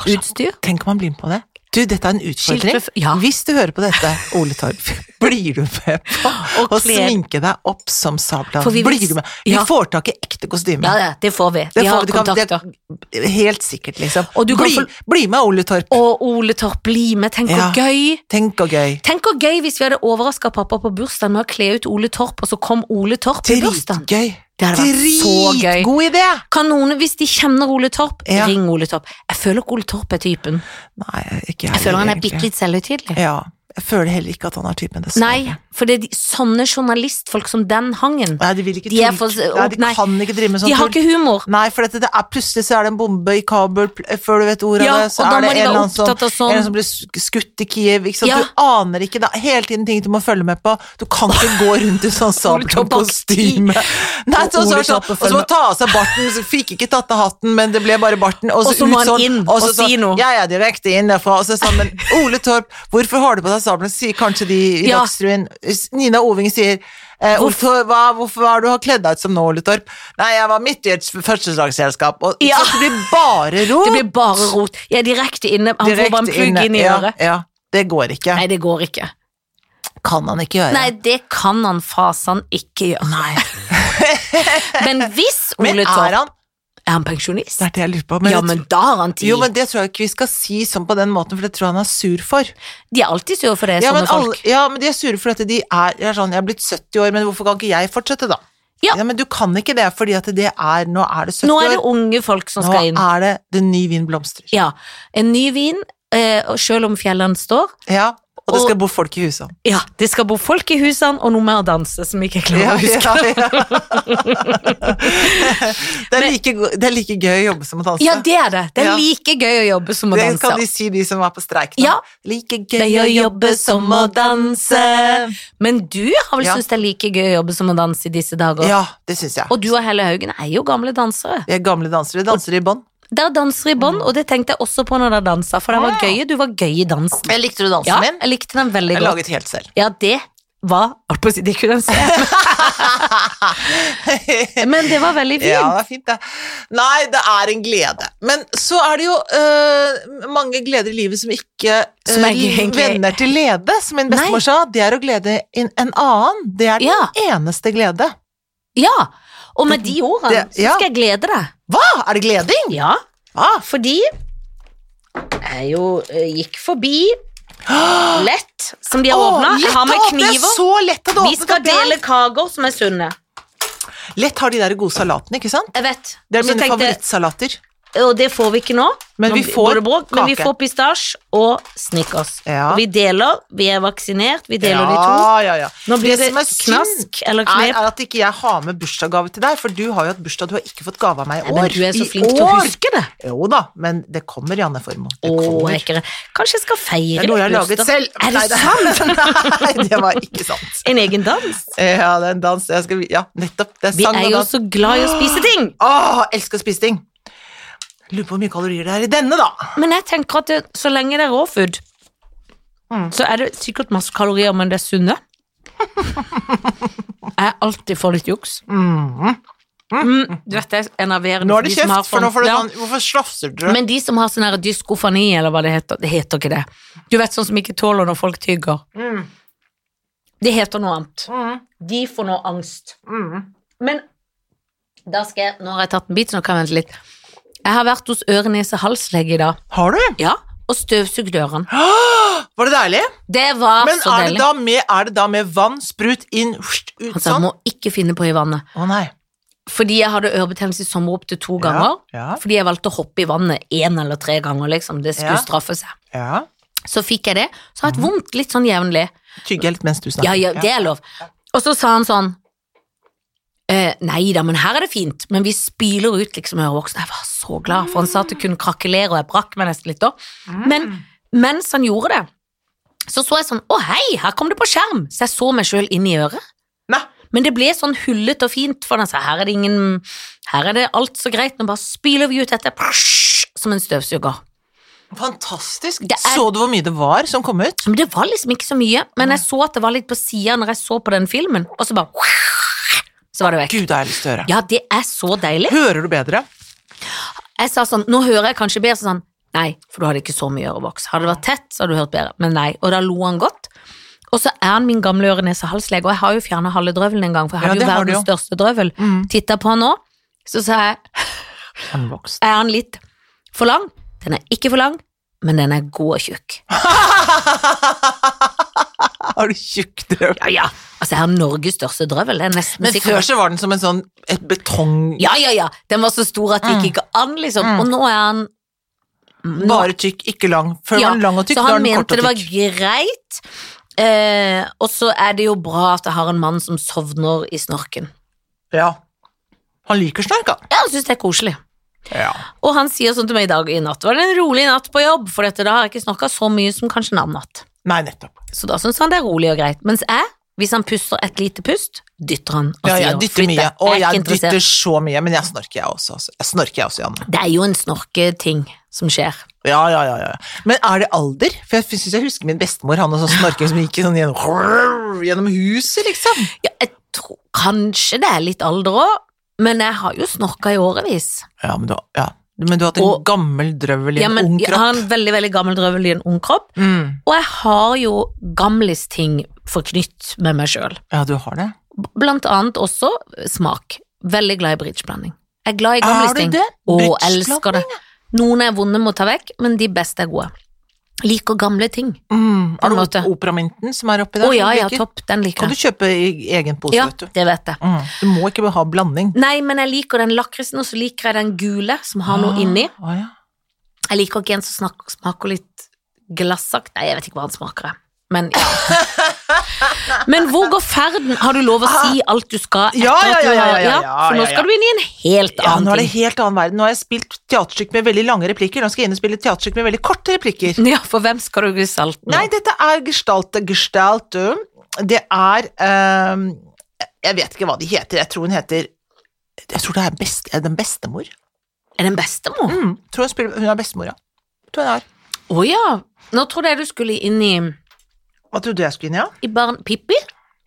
[SPEAKER 2] Kanskje-
[SPEAKER 1] utstyr.
[SPEAKER 2] Tenk om han blir med på det. Du, dette er en utfordring.
[SPEAKER 1] Skilt- ja.
[SPEAKER 2] Hvis du hører på dette, Ole Torp, blir du med på
[SPEAKER 1] Og
[SPEAKER 2] å
[SPEAKER 1] kler-
[SPEAKER 2] sminke deg opp som Sabeltann?
[SPEAKER 1] For vi vil-
[SPEAKER 2] Blir du med? Vi
[SPEAKER 1] Ja.
[SPEAKER 2] får tak i ekte kostyme.
[SPEAKER 1] Ja, ja, det får vi.
[SPEAKER 2] Det
[SPEAKER 1] vi
[SPEAKER 2] får
[SPEAKER 1] har
[SPEAKER 2] vi, det kan- det-
[SPEAKER 1] kontakter.
[SPEAKER 2] Helt sikkert, liksom.
[SPEAKER 1] Og du kan
[SPEAKER 2] bli,
[SPEAKER 1] få-
[SPEAKER 2] bli med, Ole Torp.
[SPEAKER 1] Og Ole Torp bli med, tenk hvor
[SPEAKER 2] Ja.
[SPEAKER 1] gøy.
[SPEAKER 2] Tenk og gøy.
[SPEAKER 1] Tenk hvor gøy hvis vi hadde overraska pappa på bursdagen med å kle ut Ole Torp, og så kom Ole Torp i bursdagen.
[SPEAKER 2] Dritgøy.
[SPEAKER 1] Det hadde vært så gøy.
[SPEAKER 2] God idé!
[SPEAKER 1] Kan noen, hvis de kjenner Ole Torp,
[SPEAKER 2] Ja.
[SPEAKER 1] ring Ole Torp. Jeg føler ikke Ole Torp er typen.
[SPEAKER 2] Nei, ikke
[SPEAKER 1] Jeg føler han er bitte litt selvhøytidelig.
[SPEAKER 2] Ja. Jeg føler heller ikke at han har typen,
[SPEAKER 1] Nei, for det er de, sånne journalistfolk som den hangen.
[SPEAKER 2] Nei, de vil ikke
[SPEAKER 1] De er
[SPEAKER 2] tull.
[SPEAKER 1] for-
[SPEAKER 2] Nei, de
[SPEAKER 1] nei.
[SPEAKER 2] kan ikke drive med sånn
[SPEAKER 1] De har
[SPEAKER 2] tull.
[SPEAKER 1] ikke humor.
[SPEAKER 2] Nei, for dette, det er, plutselig så er det en bombe i Kabul, pl- eh, før du vet ordet
[SPEAKER 1] Ja,
[SPEAKER 2] av det, så
[SPEAKER 1] og da
[SPEAKER 2] er
[SPEAKER 1] må
[SPEAKER 2] det
[SPEAKER 1] de
[SPEAKER 2] en
[SPEAKER 1] være
[SPEAKER 2] eller annen som,
[SPEAKER 1] opptatt av sånn-
[SPEAKER 2] en eller annen som blir sk- skutt i Kiev. Ikke sant?
[SPEAKER 1] Ja.
[SPEAKER 2] Du aner ikke, det er hele tiden ting du må følge med på. Du kan ikke gå rundt i sånn sabeltannkostyme. Nei,
[SPEAKER 1] Og
[SPEAKER 2] så, så,
[SPEAKER 1] Ole
[SPEAKER 2] så,
[SPEAKER 1] Torp
[SPEAKER 2] og
[SPEAKER 1] og
[SPEAKER 2] så må ta av seg barten, så fikk ikke tatt av hatten, men det ble bare barten. Og
[SPEAKER 1] Og så
[SPEAKER 2] ut
[SPEAKER 1] må han
[SPEAKER 2] sånn,
[SPEAKER 1] inn og
[SPEAKER 2] så-
[SPEAKER 1] si noe.
[SPEAKER 2] Jeg er direkte inn derfra, og så sa han, men Ole Torp, hvorfor har du på deg sabelen? Sier kanskje de i
[SPEAKER 1] Ja.
[SPEAKER 2] Dagsrevyen. Nina Oving sier Eh, hvorfor, hva, hvorfor har du har kledd deg ut som nå, Ole Torp? Nei, jeg var midt i et førsteslagsselskap, og
[SPEAKER 1] Ja.
[SPEAKER 2] så det blir bare ro.
[SPEAKER 1] Det blir bare rot. Jeg er direkte inne. Han får bare en plugg inn i
[SPEAKER 2] ja,
[SPEAKER 1] øret.
[SPEAKER 2] Ja, det går ikke.
[SPEAKER 1] Nei, det går ikke.
[SPEAKER 2] Kan han ikke gjøre.
[SPEAKER 1] Nei, det kan han fasan ikke gjøre.
[SPEAKER 2] Nei.
[SPEAKER 1] Men hvis
[SPEAKER 2] Men
[SPEAKER 1] Ole
[SPEAKER 2] er
[SPEAKER 1] Torp
[SPEAKER 2] han
[SPEAKER 1] Er han pensjonist?
[SPEAKER 2] Det er det jeg lurer på.
[SPEAKER 1] ja,
[SPEAKER 2] jeg
[SPEAKER 1] men
[SPEAKER 2] tror-
[SPEAKER 1] da har han tid.
[SPEAKER 2] jo, men det tror jeg ikke vi skal si sånn på den måten, for det tror jeg han er sur for.
[SPEAKER 1] De er alltid sure for det,
[SPEAKER 2] Ja,
[SPEAKER 1] sånne
[SPEAKER 2] men, alle,
[SPEAKER 1] folk.
[SPEAKER 2] ja, men de er sure for at de er, jeg er sånn, jeg er blitt 70 år, men hvorfor kan ikke jeg fortsette da?
[SPEAKER 1] Ja.
[SPEAKER 2] men du kan ikke det, fordi at det er, nå er det 70
[SPEAKER 1] Nå er det
[SPEAKER 2] år,
[SPEAKER 1] unge folk som
[SPEAKER 2] nå
[SPEAKER 1] skal inn.
[SPEAKER 2] er det den nye vin blomstrer.
[SPEAKER 1] Ja, En ny vin, eh, og selv om fjellene står.
[SPEAKER 2] Ja, og det
[SPEAKER 1] Og-
[SPEAKER 2] skal bo folk i huset.
[SPEAKER 1] Ja, det skal bo folk i husene, og noe mer danse som vi ikke klarer
[SPEAKER 2] Ja,
[SPEAKER 1] å huske.
[SPEAKER 2] ja, ja. det, er like, go- det er like gøy å jobbe som å danse.
[SPEAKER 1] Ja, det er det. Det er
[SPEAKER 2] Ja.
[SPEAKER 1] like gøy å jobbe som å
[SPEAKER 2] det
[SPEAKER 1] danse.
[SPEAKER 2] kan de si, de som var på streik nå.
[SPEAKER 1] Ja.
[SPEAKER 2] Like
[SPEAKER 1] Det
[SPEAKER 2] gøy
[SPEAKER 1] er
[SPEAKER 2] å jobbe som å danse.
[SPEAKER 1] Men du har vel
[SPEAKER 2] Ja.
[SPEAKER 1] syntes det er like gøy å jobbe som å danse i disse dager?
[SPEAKER 2] Ja, det syns jeg.
[SPEAKER 1] Og du og Helle Haugen er jo gamle dansere.
[SPEAKER 2] Vi er gamle dansere. Vi danser i bånd.
[SPEAKER 1] Dere danser i
[SPEAKER 2] Mm.
[SPEAKER 1] bånd, og det tenkte jeg også på når dere dansa, for det var gøy, du var gøy i dansen.
[SPEAKER 2] Jeg likte du dansen
[SPEAKER 1] Ja,
[SPEAKER 2] min.
[SPEAKER 1] jeg likte den veldig
[SPEAKER 2] Jeg
[SPEAKER 1] godt.
[SPEAKER 2] laget helt selv.
[SPEAKER 1] Ja, det var holdt på å si, Det kunne jeg se, men det var veldig fint.
[SPEAKER 2] Ja, det er fint, det. Nei, det er en glede. Men så er det jo øh, mange gleder i livet som ikke øh,
[SPEAKER 1] Som er egentlig-
[SPEAKER 2] vender til glede, som min
[SPEAKER 1] Nei.
[SPEAKER 2] bestemor sa. Det er å glede inn en annen. Det er den
[SPEAKER 1] Ja.
[SPEAKER 2] eneste glede.
[SPEAKER 1] Ja, og med de ordene
[SPEAKER 2] Det- ja.
[SPEAKER 1] så skal jeg glede deg.
[SPEAKER 2] Hva? Er det gleding?
[SPEAKER 1] Ja,
[SPEAKER 2] Ah,
[SPEAKER 1] fordi jeg jo eh, gikk forbi lett, som de har
[SPEAKER 2] Åh,
[SPEAKER 1] åpna. Jeg
[SPEAKER 2] lett
[SPEAKER 1] har med
[SPEAKER 2] å åpne,
[SPEAKER 1] kniver.
[SPEAKER 2] Så lett å åpne
[SPEAKER 1] Vi skal dele kaker som er sunne.
[SPEAKER 2] Lett har de der gode salatene, ikke sant?
[SPEAKER 1] Jeg vet.
[SPEAKER 2] Det
[SPEAKER 1] Så
[SPEAKER 2] er mine
[SPEAKER 1] tenkte jeg-
[SPEAKER 2] favorittsalater.
[SPEAKER 1] Og det får vi ikke nå.
[SPEAKER 2] Men
[SPEAKER 1] Nå
[SPEAKER 2] vi
[SPEAKER 1] blir
[SPEAKER 2] får
[SPEAKER 1] det bråk, Men vi
[SPEAKER 2] kake.
[SPEAKER 1] får pistasj og snickers.
[SPEAKER 2] Ja.
[SPEAKER 1] Og vi deler. Vi er vaksinert. Vi deler
[SPEAKER 2] ja,
[SPEAKER 1] de to.
[SPEAKER 2] Ja, ja.
[SPEAKER 1] Nå blir det
[SPEAKER 2] som er synd
[SPEAKER 1] knask eller
[SPEAKER 2] Er,
[SPEAKER 1] knep.
[SPEAKER 2] er at ikke jeg har med bursdagsgave til deg, for du har jo hatt bursdag, du har ikke fått gave av meg i år.
[SPEAKER 1] Men du er
[SPEAKER 2] I
[SPEAKER 1] så flink til å
[SPEAKER 2] år!
[SPEAKER 1] huske det.
[SPEAKER 2] Jo da, men det kommer, Janne Formoe. Det
[SPEAKER 1] Å,
[SPEAKER 2] kommer.
[SPEAKER 1] jeg er ikke det. Kanskje jeg skal
[SPEAKER 2] Det
[SPEAKER 1] feire
[SPEAKER 2] er noe jeg har laget
[SPEAKER 1] bursdag.
[SPEAKER 2] selv.
[SPEAKER 1] Er det sant?
[SPEAKER 2] sant? Nei, det var ikke sant. Eh,
[SPEAKER 1] En egen dans?
[SPEAKER 2] Ja, det er en dans. Jeg skal, ja, nettopp. Det er
[SPEAKER 1] Vi
[SPEAKER 2] sang
[SPEAKER 1] er
[SPEAKER 2] og
[SPEAKER 1] jo
[SPEAKER 2] dans.
[SPEAKER 1] så glad i å spise ting.
[SPEAKER 2] Åh, elsker å spise ting. Lurer på hvor mye kalorier det er i denne, da.
[SPEAKER 1] Men jeg tenker at det, så lenge det er raw food,
[SPEAKER 2] Mm.
[SPEAKER 1] så er det sikkert masse kalorier, men det er sunne. Jeg er alltid for litt juks.
[SPEAKER 2] Mhm.
[SPEAKER 1] Mm, du vet det, er enerverende.
[SPEAKER 2] Nå er det
[SPEAKER 1] de som har
[SPEAKER 2] kjeft, for nå får du
[SPEAKER 1] sånn- Ja.
[SPEAKER 2] sånn Hvorfor slafser du?
[SPEAKER 1] Men de som har sånn her dyskofani, eller hva det heter, det heter ikke det. Du vet sånn som ikke tåler når folk tygger.
[SPEAKER 2] Mm.
[SPEAKER 1] Det heter noe annet.
[SPEAKER 2] Mhm.
[SPEAKER 1] De får nå angst.
[SPEAKER 2] Mhm.
[SPEAKER 1] Men da skal jeg, nå har jeg tatt en bit, så nå kan jeg vente litt. Jeg har vært hos øre-nese-hals-lege i dag.
[SPEAKER 2] Har du?
[SPEAKER 1] Ja, og støvsugd ørene.
[SPEAKER 2] Åh, Var det deilig?
[SPEAKER 1] Det var
[SPEAKER 2] Men
[SPEAKER 1] så
[SPEAKER 2] er det,
[SPEAKER 1] deilig.
[SPEAKER 2] da med, er det da med vann, sprut inn, husht, ut
[SPEAKER 1] Han sa
[SPEAKER 2] sånn?
[SPEAKER 1] må ikke finne på i vannet.
[SPEAKER 2] Å nei.
[SPEAKER 1] Fordi jeg hadde ørebetennelse i sommer opptil to ganger.
[SPEAKER 2] Ja,
[SPEAKER 1] Fordi jeg valgte å hoppe i vannet én eller tre ganger, liksom. Det skulle
[SPEAKER 2] Ja. Mhm.
[SPEAKER 1] straffe seg.
[SPEAKER 2] ja, ja.
[SPEAKER 1] Så fikk jeg det. Så har jeg hatt vondt litt sånn jevnlig.
[SPEAKER 2] Tygge helt mens du snakker.
[SPEAKER 1] Ja, ja, det er lov. Og så sa han sånn eh, Nei da, men her er det fint. Men vi spyler ut liksom ørevoksen. Jeg var så glad, for han sa at det kunne krakelere, og jeg brakk meg nesten litt da. Men mens han gjorde det, så så jeg sånn Å hei, her kom det på skjerm! Så jeg så meg sjøl inn i øret.
[SPEAKER 2] Nei.
[SPEAKER 1] Men det ble sånn hullete og fint, for han sa her er det ingen Her er det alt så greit, nå bare spyler vi ut dette prsj, som en støvsuger.
[SPEAKER 2] Fantastisk.
[SPEAKER 1] Det er-
[SPEAKER 2] Så du hvor mye det var som kom ut?
[SPEAKER 1] Men det var liksom ikke så mye, men jeg så at det var litt på sida når jeg så på den filmen, og så bare Så var det vekk.
[SPEAKER 2] Gud, det har jeg lyst til å høre.
[SPEAKER 1] Ja, det er så deilig.
[SPEAKER 2] Hører du bedre?
[SPEAKER 1] Jeg sa sånn, nå hører jeg kanskje bedre så sånn, nei, for du hadde ikke så mye ørevoks. Hadde det vært tett, så hadde du hørt bedre, men nei. Og da lo han godt. Og så er han min gamle øre-nese-halslege, og jeg har jo fjernet halve drøvelen en gang, for jeg
[SPEAKER 2] Ja,
[SPEAKER 1] hadde
[SPEAKER 2] det
[SPEAKER 1] jo
[SPEAKER 2] har du Mm.
[SPEAKER 1] verdens største drøvel. Titta på han nå, så sa jeg,
[SPEAKER 2] Håndvokst.
[SPEAKER 1] er han litt for lang? Den er ikke for lang, men den er god og tjukk.
[SPEAKER 2] Har du tjukk drøm?
[SPEAKER 1] Ja, ja. Altså, jeg har Norges største drøvel, det er nesten
[SPEAKER 2] Men
[SPEAKER 1] sikkert.
[SPEAKER 2] før så var den som en sånn et betong
[SPEAKER 1] Ja, ja, ja. Den var så stor at det
[SPEAKER 2] Mm.
[SPEAKER 1] gikk ikke an, liksom. Og nå er han nå-
[SPEAKER 2] Bare tykk, ikke lang. Før
[SPEAKER 1] Ja,
[SPEAKER 2] var den lang og tykk,
[SPEAKER 1] Så
[SPEAKER 2] nå er
[SPEAKER 1] han
[SPEAKER 2] den kort
[SPEAKER 1] mente
[SPEAKER 2] og
[SPEAKER 1] det var
[SPEAKER 2] tykk.
[SPEAKER 1] greit. Eh, og så er det jo bra at jeg har en mann som sovner i snorken.
[SPEAKER 2] Ja. Han liker snork, han.
[SPEAKER 1] Ja, han syns det er koselig.
[SPEAKER 2] Ja.
[SPEAKER 1] Og han sier sånn til meg i dag i natt. Var det en rolig natt på jobb? For dette, da har jeg ikke snorka så mye som kanskje en annen natt.
[SPEAKER 2] Nei, nettopp.
[SPEAKER 1] Så da syns han det er rolig og greit. Mens jeg, hvis han puster et lite pust, dytter han og
[SPEAKER 2] Ja,
[SPEAKER 1] sier
[SPEAKER 2] jeg dytter
[SPEAKER 1] flytt
[SPEAKER 2] mye.
[SPEAKER 1] deg.
[SPEAKER 2] Å,
[SPEAKER 1] Jeg er ikke
[SPEAKER 2] jeg dytter
[SPEAKER 1] interessert.
[SPEAKER 2] så mye, men jeg snorker, jeg også. altså. Jeg snorker, jeg også, Janne.
[SPEAKER 1] Det er jo en snorketing som skjer.
[SPEAKER 2] Ja, ja, ja, ja. Men er det alder? For jeg syns jeg husker min bestemor, han og sånn snorking som gikk sånn gjennom, gjennom huset, liksom.
[SPEAKER 1] Ja, jeg tror kanskje det er litt alder òg, men jeg har jo snorka i årevis.
[SPEAKER 2] Ja, men du, har- ja. men du har hatt en
[SPEAKER 1] Og-
[SPEAKER 2] gammel drøvel i
[SPEAKER 1] Ja,
[SPEAKER 2] en
[SPEAKER 1] men
[SPEAKER 2] ung
[SPEAKER 1] jeg har
[SPEAKER 2] kropp.
[SPEAKER 1] en veldig, veldig gammel drøvel i en ung kropp,
[SPEAKER 2] Mm.
[SPEAKER 1] og jeg har jo gamlisting forknytt med meg sjøl.
[SPEAKER 2] Ja, du har det.
[SPEAKER 1] Blant annet også smak. Veldig glad i bridgeblanding. Jeg er glad i gamlisting.
[SPEAKER 2] det?
[SPEAKER 1] Å,
[SPEAKER 2] Bruksklapping,
[SPEAKER 1] elsker det. Noen er vonde må ta vekk, men de beste er gode. Liker gamle ting.
[SPEAKER 2] Mm.
[SPEAKER 1] en
[SPEAKER 2] Er det
[SPEAKER 1] måte.
[SPEAKER 2] op- operamynten som er oppi
[SPEAKER 1] Å
[SPEAKER 2] der? som
[SPEAKER 1] ja,
[SPEAKER 2] du
[SPEAKER 1] ja,
[SPEAKER 2] liker?
[SPEAKER 1] topp,
[SPEAKER 2] Kan
[SPEAKER 1] den liker
[SPEAKER 2] du
[SPEAKER 1] jeg.
[SPEAKER 2] kjøpe i egen pose,
[SPEAKER 1] Ja,
[SPEAKER 2] vet du.
[SPEAKER 1] det vet jeg.
[SPEAKER 2] Mm. Du må ikke ha blanding.
[SPEAKER 1] Nei, men jeg liker den lakrisen, og så liker jeg den gule som har noe
[SPEAKER 2] Ah,
[SPEAKER 1] inni.
[SPEAKER 2] ah, ja.
[SPEAKER 1] Jeg liker ikke en som snak- smaker litt glassakt. Nei, jeg vet ikke hva den smaker, jeg. Men, ja. men hvor går ferden? Har du lov å si alt du skal? etter
[SPEAKER 2] Ah. Ja, ja,
[SPEAKER 1] at du
[SPEAKER 2] ja, ja,
[SPEAKER 1] har-
[SPEAKER 2] ja,
[SPEAKER 1] For nå
[SPEAKER 2] ja, ja.
[SPEAKER 1] skal du inn i en helt
[SPEAKER 2] ja, nå er
[SPEAKER 1] annen
[SPEAKER 2] det helt annen verden. Nå har jeg spilt teaterstykke med veldig lange replikker, nå skal jeg inn og spille teaterstykke med veldig korte replikker.
[SPEAKER 1] ting. Ja, for hvem skal du gestalte nå?
[SPEAKER 2] Nei, dette er gestalte, gestalte. Det er ehm, Jeg vet ikke hva de heter, jeg tror hun heter Jeg tror det er best, er den bestemor.
[SPEAKER 1] Er det en bestemor? Å
[SPEAKER 2] Mm, tror hun, spiller, hun er bestemor, ja. Tror jeg det er.
[SPEAKER 1] ja. Nå trodde jeg du skulle inn i,
[SPEAKER 2] Hva trodde jeg skulle inn, ja?
[SPEAKER 1] i barn... Pippi?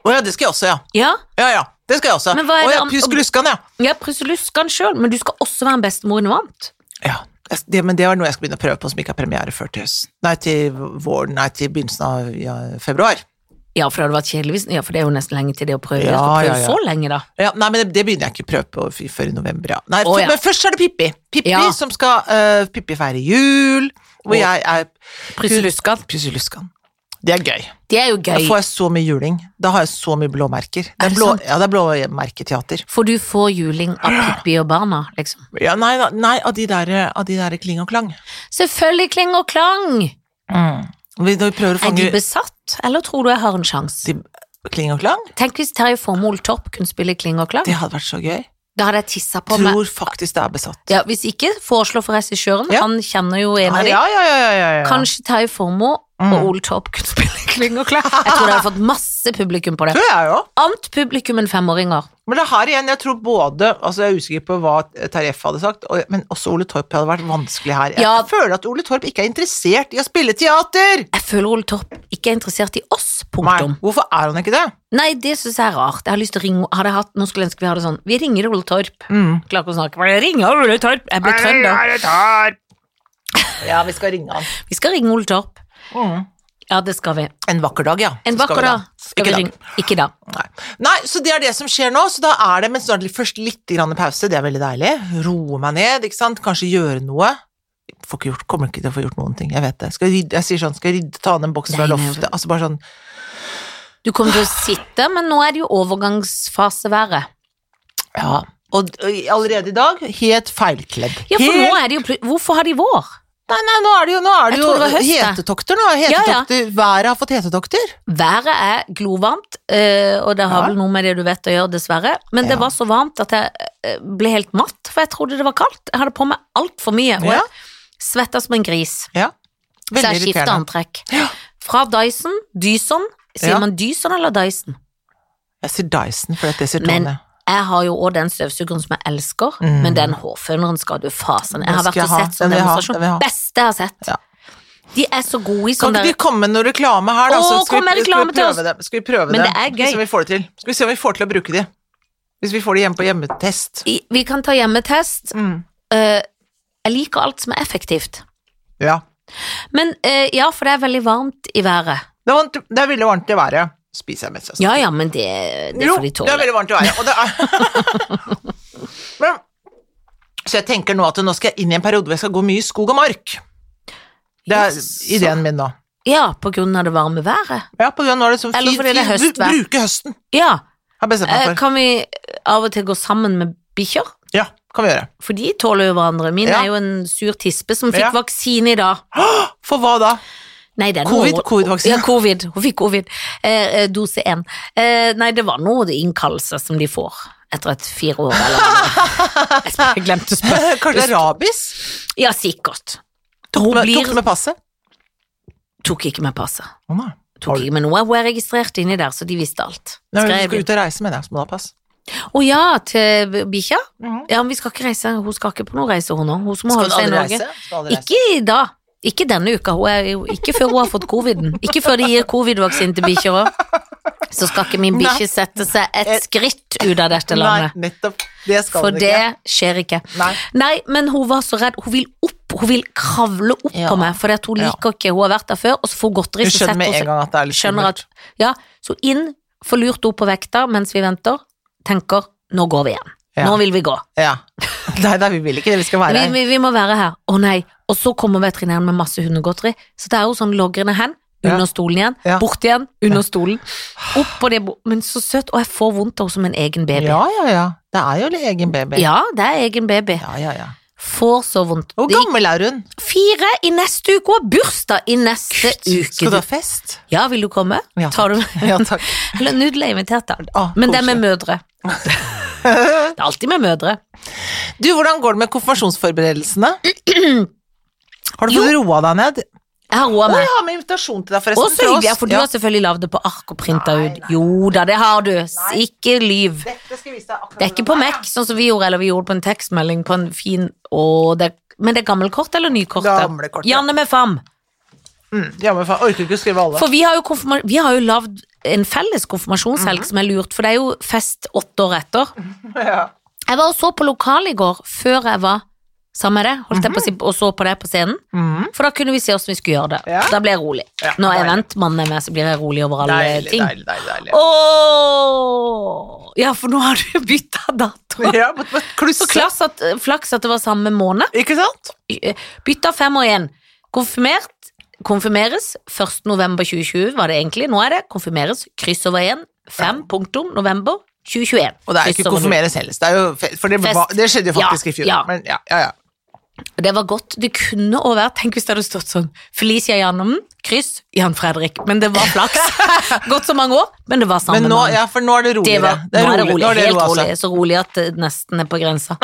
[SPEAKER 2] Å ja, det skal jeg også, ja.
[SPEAKER 1] Ja,
[SPEAKER 2] Ja, ja, det skal jeg også.
[SPEAKER 1] Men hva er
[SPEAKER 2] Å
[SPEAKER 1] det
[SPEAKER 2] ja,
[SPEAKER 1] om-
[SPEAKER 2] Pyskeluskan, ja.
[SPEAKER 1] ja Pruseluskan sjøl, men du skal også være en bestemor i noe annet.
[SPEAKER 2] ja. jeg- Det, men det var noe jeg skal begynne å prøve på som ikke har premiere før til høsten. Nei, til våren, nei, til begynnelsen av ja, februar.
[SPEAKER 1] Ja, for det hadde vært kjedelig hvis Ja, for det er jo nesten lenge til det å prøve.
[SPEAKER 2] Ja,
[SPEAKER 1] Ja, prøve
[SPEAKER 2] ja, ja.
[SPEAKER 1] så lenge, da.
[SPEAKER 2] Ja, nei, men det, det begynner jeg ikke å prøve på f- før i november, ja. Nei,
[SPEAKER 1] Å,
[SPEAKER 2] f-
[SPEAKER 1] ja.
[SPEAKER 2] Men først er det Pippi. Pippi
[SPEAKER 1] Ja.
[SPEAKER 2] som skal eh, Pippi feire jul, hvor
[SPEAKER 1] Å.
[SPEAKER 2] jeg er
[SPEAKER 1] Pruseluskan.
[SPEAKER 2] Pysseluskan. Det er gøy.
[SPEAKER 1] Det er jo
[SPEAKER 2] Da
[SPEAKER 1] gøy.
[SPEAKER 2] får jeg så mye juling. Da har jeg så mye blåmerker. Det
[SPEAKER 1] Er
[SPEAKER 2] er,
[SPEAKER 1] det
[SPEAKER 2] blå,
[SPEAKER 1] sant?
[SPEAKER 2] ja, det er blåmerketeater.
[SPEAKER 1] For du får juling av Pippi og barna, liksom.
[SPEAKER 2] Ja, nei, da- nei, av de der, av de der kling og klang.
[SPEAKER 1] Selvfølgelig kling og klang!
[SPEAKER 2] Vi, når vi prøver å
[SPEAKER 1] Er de
[SPEAKER 2] fange
[SPEAKER 1] besatt, eller tror du jeg har en sjanse?
[SPEAKER 2] de, Kling og klang?
[SPEAKER 1] Tenk hvis Terje Formoe Torp kunne spille kling og klang.
[SPEAKER 2] Det hadde vært så gøy.
[SPEAKER 1] Da hadde jeg tissa på meg.
[SPEAKER 2] Tror faktisk det er besatt.
[SPEAKER 1] Ja, hvis ikke, foreslå for regissøren.
[SPEAKER 2] Ja.
[SPEAKER 1] Han kjenner jo en
[SPEAKER 2] Ja,
[SPEAKER 1] av de.
[SPEAKER 2] ja, ja, ja, ja, ja.
[SPEAKER 1] Kanskje Terje Formoe
[SPEAKER 2] Mm.
[SPEAKER 1] og Ole Torp kunne spille kling og klang. Jeg tror det hadde fått masse publikum på det.
[SPEAKER 2] Tror jeg jo.
[SPEAKER 1] Annet publikum enn femåringer.
[SPEAKER 2] Men det her igjen, jeg tror både Altså, jeg er usikker på hva Tarjef hadde sagt, og, men også Ole Torp hadde vært vanskelig her. Jeg
[SPEAKER 1] Ja.
[SPEAKER 2] føler at Ole Torp ikke er interessert i å spille teater!
[SPEAKER 1] Jeg føler Ole Torp ikke er interessert i oss,
[SPEAKER 2] Nei,
[SPEAKER 1] punktum.
[SPEAKER 2] hvorfor er han ikke det?
[SPEAKER 1] Nei, det syns jeg er rart. Jeg har lyst til å ringe hadde jeg hatt, Nå skulle jeg ønske vi hadde sånn Vi ringer Ole Torp.
[SPEAKER 2] Mm.
[SPEAKER 1] Klarer ikke å snakke. Jeg ringer Ole Torp. Jeg ble trønder.
[SPEAKER 2] Ja, vi skal ringe han.
[SPEAKER 1] Vi skal ringe Ole Torp.
[SPEAKER 2] Mm.
[SPEAKER 1] Ja, det skal vi.
[SPEAKER 2] En vakker dag, ja.
[SPEAKER 1] En
[SPEAKER 2] Så skal
[SPEAKER 1] vakker
[SPEAKER 2] vi
[SPEAKER 1] dag skal
[SPEAKER 2] Ikke
[SPEAKER 1] vi
[SPEAKER 2] i dag.
[SPEAKER 1] ringe. Ikke da.
[SPEAKER 2] Nei. Nei, så det er det som skjer nå, så da er det, men så er det først litt grann pause, det er veldig deilig. Roe meg ned, ikke sant, kanskje gjøre noe. Får ikke gjort, kommer ikke til å få gjort noen ting, jeg vet det. Skal rydde, jeg sier sånn, skal rydde, ta ned en boks fra
[SPEAKER 1] Nei, nei,
[SPEAKER 2] loftet, altså bare sånn,
[SPEAKER 1] Du kommer til å sitte, men nå er det jo overgangsfaseværet.
[SPEAKER 2] ja. Og og allerede i dag, helt feilkledd.
[SPEAKER 1] Ja, for
[SPEAKER 2] Helt-
[SPEAKER 1] nå er det jo plut- Hvorfor har de vår?
[SPEAKER 2] Nei, nei, nå er det jo, nå er det
[SPEAKER 1] Jeg
[SPEAKER 2] jo
[SPEAKER 1] tror det var høst, jeg.
[SPEAKER 2] hetetokter nå, hetetokter, været har fått hetetokter.
[SPEAKER 1] Været er glovarmt, eh, og det har
[SPEAKER 2] Ja.
[SPEAKER 1] vel noe med det du vet å gjøre, dessverre. Men det
[SPEAKER 2] Ja.
[SPEAKER 1] var så varmt at jeg eh, ble helt matt, for jeg trodde det var kaldt. Jeg hadde på meg altfor mye, og
[SPEAKER 2] Ja.
[SPEAKER 1] jeg svetta som en gris.
[SPEAKER 2] Ja, veldig
[SPEAKER 1] Så jeg skifta
[SPEAKER 2] irriterende.
[SPEAKER 1] antrekk.
[SPEAKER 2] Ja.
[SPEAKER 1] Fra Dyson, Dyson Sier
[SPEAKER 2] Ja.
[SPEAKER 1] man Dyson eller Dyson?
[SPEAKER 2] Jeg sier Dyson, for dette sier
[SPEAKER 1] Men-
[SPEAKER 2] Tone.
[SPEAKER 1] Jeg har jo òg den støvsugeren som jeg elsker,
[SPEAKER 2] Mm.
[SPEAKER 1] men den hårføneren skal du fasen. Jeg
[SPEAKER 2] Den
[SPEAKER 1] har
[SPEAKER 2] skal
[SPEAKER 1] vært
[SPEAKER 2] jeg
[SPEAKER 1] og
[SPEAKER 2] ha.
[SPEAKER 1] sett sånn
[SPEAKER 2] Den vil jeg ha.
[SPEAKER 1] demonstrasjon.
[SPEAKER 2] Den vil jeg ha.
[SPEAKER 1] Beste jeg har sett.
[SPEAKER 2] Ja.
[SPEAKER 1] De er så gode
[SPEAKER 2] Kan
[SPEAKER 1] i
[SPEAKER 2] ikke
[SPEAKER 1] sånn der
[SPEAKER 2] du komme med noe reklame her, da?
[SPEAKER 1] Å,
[SPEAKER 2] så skal
[SPEAKER 1] kom med
[SPEAKER 2] vi-
[SPEAKER 1] reklame til
[SPEAKER 2] skal vi
[SPEAKER 1] oss.
[SPEAKER 2] prøve det? Skal vi prøve
[SPEAKER 1] Men
[SPEAKER 2] det?
[SPEAKER 1] det er
[SPEAKER 2] Skal vi se om
[SPEAKER 1] gøy.
[SPEAKER 2] vi får det til? Skal vi se om vi får til å bruke de? Hvis vi får de hjemme på hjemmetest.
[SPEAKER 1] I- Vi kan ta hjemmetest.
[SPEAKER 2] Mm.
[SPEAKER 1] Eh, Jeg liker alt som er effektivt.
[SPEAKER 2] Ja.
[SPEAKER 1] Men eh, ja, for det er veldig varmt i været.
[SPEAKER 2] Det er, varmt, det er veldig varmt i været. Spiser jeg mens jeg snakker.
[SPEAKER 1] Ja ja, men det, det
[SPEAKER 2] jo,
[SPEAKER 1] får de
[SPEAKER 2] det er
[SPEAKER 1] tåle.
[SPEAKER 2] veldig varmt i været. Og det er Men, så jeg tenker nå at nå skal jeg inn i en periode hvor jeg skal gå mye i skog og mark. Det er
[SPEAKER 1] Jaså.
[SPEAKER 2] ideen min nå.
[SPEAKER 1] Ja, på grunn av det varme været.
[SPEAKER 2] Ja, på grunn av nå er det sånn
[SPEAKER 1] Eller
[SPEAKER 2] fint,
[SPEAKER 1] fordi det er
[SPEAKER 2] fint,
[SPEAKER 1] høstvær.
[SPEAKER 2] bruke høsten.
[SPEAKER 1] Ja,
[SPEAKER 2] Har jeg bestemt meg
[SPEAKER 1] eh,
[SPEAKER 2] for.
[SPEAKER 1] kan vi av og til gå sammen med bikkjer?
[SPEAKER 2] Ja, kan vi gjøre.
[SPEAKER 1] For de tåler jo hverandre. Min
[SPEAKER 2] Ja.
[SPEAKER 1] er jo en sur tispe som fikk
[SPEAKER 2] Ja.
[SPEAKER 1] vaksine i dag.
[SPEAKER 2] For hva da?
[SPEAKER 1] Nei, det er
[SPEAKER 2] Covid,
[SPEAKER 1] noe-
[SPEAKER 2] covid-vaksine.
[SPEAKER 1] Ja, covid. Hun fikk covid. Eh, eh, dose én. Eh, nei, det var noe innkallelse som de får etter et fire år eller noe. Jeg sp- Jeg glemte å spørre.
[SPEAKER 2] Kanskje det er rabies?
[SPEAKER 1] Ja, sikkert.
[SPEAKER 2] Tok
[SPEAKER 1] Hun
[SPEAKER 2] med,
[SPEAKER 1] blir-
[SPEAKER 2] tok med passet?
[SPEAKER 1] Tok ikke med passet.
[SPEAKER 2] Å nei. Har
[SPEAKER 1] Tok
[SPEAKER 2] du-
[SPEAKER 1] ikke med noe. Hun er registrert inni der, så de visste alt.
[SPEAKER 2] Nei, men du
[SPEAKER 1] Skrev
[SPEAKER 2] skal
[SPEAKER 1] de.
[SPEAKER 2] ut og reise, mener jeg, så må du ha pass.
[SPEAKER 1] Å ja, til b- bikkja? Ja, men vi skal ikke reise. Hun skal ikke på noen reise, hun nå. Hun som
[SPEAKER 2] Mhm. Skal
[SPEAKER 1] må holde
[SPEAKER 2] du
[SPEAKER 1] seg i
[SPEAKER 2] aldri
[SPEAKER 1] Norge.
[SPEAKER 2] reise? Skal du aldri reise?
[SPEAKER 1] Ikke i dag. Ikke denne uka. Hun er jo, ikke før hun har fått coviden. Ikke før de gir covid-vaksine til bikkjer òg. Så skal ikke min bikkje sette seg et skritt ut av dette landet.
[SPEAKER 2] Nei, nettopp. Det skal
[SPEAKER 1] For
[SPEAKER 2] du ikke.
[SPEAKER 1] det skjer ikke.
[SPEAKER 2] Nei.
[SPEAKER 1] Nei, men hun var så redd. Hun vil opp. Hun vil kravle opp
[SPEAKER 2] Ja.
[SPEAKER 1] på meg, for hun
[SPEAKER 2] Ja.
[SPEAKER 1] liker ikke Hun har vært der før, og så får hun godteri.
[SPEAKER 2] Du
[SPEAKER 1] så
[SPEAKER 2] skjønner
[SPEAKER 1] setter
[SPEAKER 2] med
[SPEAKER 1] hun
[SPEAKER 2] en
[SPEAKER 1] seg-
[SPEAKER 2] gang at det er litt
[SPEAKER 1] skjønner at Ja, så inn, får lurt henne på vekta mens vi venter, tenker 'nå går vi igjen'.
[SPEAKER 2] Ja.
[SPEAKER 1] Nå vil vi gå.
[SPEAKER 2] Ja. Nei, da, vi vil ikke det. Vi skal være
[SPEAKER 1] Vi,
[SPEAKER 2] her.
[SPEAKER 1] vi, vi må være her. Å nei. Og så kommer veterinæren med masse hundegodteri. Så det er jo sånn logrende hen,
[SPEAKER 2] Ja.
[SPEAKER 1] under stolen igjen,
[SPEAKER 2] Ja.
[SPEAKER 1] bort igjen, under stolen. Opp på det bo- Men så søtt. Og jeg får vondt av henne som en egen baby.
[SPEAKER 2] Ja, ja, ja. Det er jo egen baby.
[SPEAKER 1] Ja, det er egen baby.
[SPEAKER 2] ja, ja. ja.
[SPEAKER 1] Får så vondt.
[SPEAKER 2] Hvor
[SPEAKER 1] Det gikk
[SPEAKER 2] gammel er hun?
[SPEAKER 1] fire i neste uke og bursdag i neste uke.
[SPEAKER 2] Skal du ha fest?
[SPEAKER 1] Ja, vil du komme?
[SPEAKER 2] Ja,
[SPEAKER 1] Tar du
[SPEAKER 2] Ja, takk.
[SPEAKER 1] Eller Nudel er invitert, da.
[SPEAKER 2] Ah,
[SPEAKER 1] Men det er med
[SPEAKER 2] koselig.
[SPEAKER 1] mødre. Det er alltid med mødre.
[SPEAKER 2] Du, hvordan går det med konfirmasjonsforberedelsene? Har du
[SPEAKER 1] Jo.
[SPEAKER 2] fått roa deg ned?
[SPEAKER 1] Jeg har roa
[SPEAKER 2] Å,
[SPEAKER 1] meg.
[SPEAKER 2] jeg har med invitasjon til deg,
[SPEAKER 1] Og
[SPEAKER 2] forresten.
[SPEAKER 1] så
[SPEAKER 2] til
[SPEAKER 1] hyggelig, ja,
[SPEAKER 2] oss.
[SPEAKER 1] for du
[SPEAKER 2] Ja.
[SPEAKER 1] har selvfølgelig lagd det på ark og printa
[SPEAKER 2] Nei,
[SPEAKER 1] ut.
[SPEAKER 2] nei.
[SPEAKER 1] Jo da, det har du. Ikke lyv.
[SPEAKER 2] Dette skal jeg vise deg akkurat
[SPEAKER 1] Det er ikke på
[SPEAKER 2] hvordan
[SPEAKER 1] Mac, sånn som vi gjorde, eller vi gjorde på en tekstmelding på en fin å, det, Men det er gammelkort eller nykort? da?
[SPEAKER 2] Gamle kortet.
[SPEAKER 1] Janne med fam.
[SPEAKER 2] Mm, ja, men faen, orker ikke å skrive alle.
[SPEAKER 1] For vi har jo, konfirma- vi har jo lagd en felles konfirmasjonshelg
[SPEAKER 2] Mhm.
[SPEAKER 1] som er lurt, for det er jo fest åtte år etter.
[SPEAKER 2] Ja.
[SPEAKER 1] Jeg var og så på lokalet i går, før jeg var sammen med deg, holdt jeg på å si, og så på det på scenen.
[SPEAKER 2] Mm.
[SPEAKER 1] For da kunne vi se hvordan vi skulle gjøre det.
[SPEAKER 2] Mhm. Ja.
[SPEAKER 1] Da ble jeg rolig.
[SPEAKER 2] Ja,
[SPEAKER 1] Når
[SPEAKER 2] deilig.
[SPEAKER 1] eventmannen er med, så blir jeg rolig over alle
[SPEAKER 2] Deilig,
[SPEAKER 1] ting.
[SPEAKER 2] deilig, deilig. deilig.
[SPEAKER 1] Åh! Ja, for nå har du bytta dato.
[SPEAKER 2] Ja, men- men
[SPEAKER 1] Så
[SPEAKER 2] klusse.
[SPEAKER 1] klass at, flaks at det var samme måned.
[SPEAKER 2] Ikke sant?
[SPEAKER 1] Bytta fem og én. Konfirmert konfirmeres 1. november 2020, var det egentlig. Nå er det konfirmeres kryss over én. Fem punktum november 2021.
[SPEAKER 2] Og det er ikke
[SPEAKER 1] Kryss over null.
[SPEAKER 2] konfirmeres heller. Det, er jo fe- for det,
[SPEAKER 1] Fest.
[SPEAKER 2] var, det skjedde jo faktisk
[SPEAKER 1] Ja,
[SPEAKER 2] i fjor.
[SPEAKER 1] ja.
[SPEAKER 2] Men ja, ja, ja.
[SPEAKER 1] Det var godt. Det kunne å være Tenk hvis det hadde stått sånn Felicia Jannem, kryss Jan Fredrik. Men det var flaks. Gått så mange år, men det var samme
[SPEAKER 2] Men nå,
[SPEAKER 1] mann.
[SPEAKER 2] ja, for nå er det roligere.
[SPEAKER 1] Det var, nå er det rolig.
[SPEAKER 2] nå er det
[SPEAKER 1] Helt
[SPEAKER 2] roa seg.
[SPEAKER 1] rolig. Så rolig at det nesten er på grensa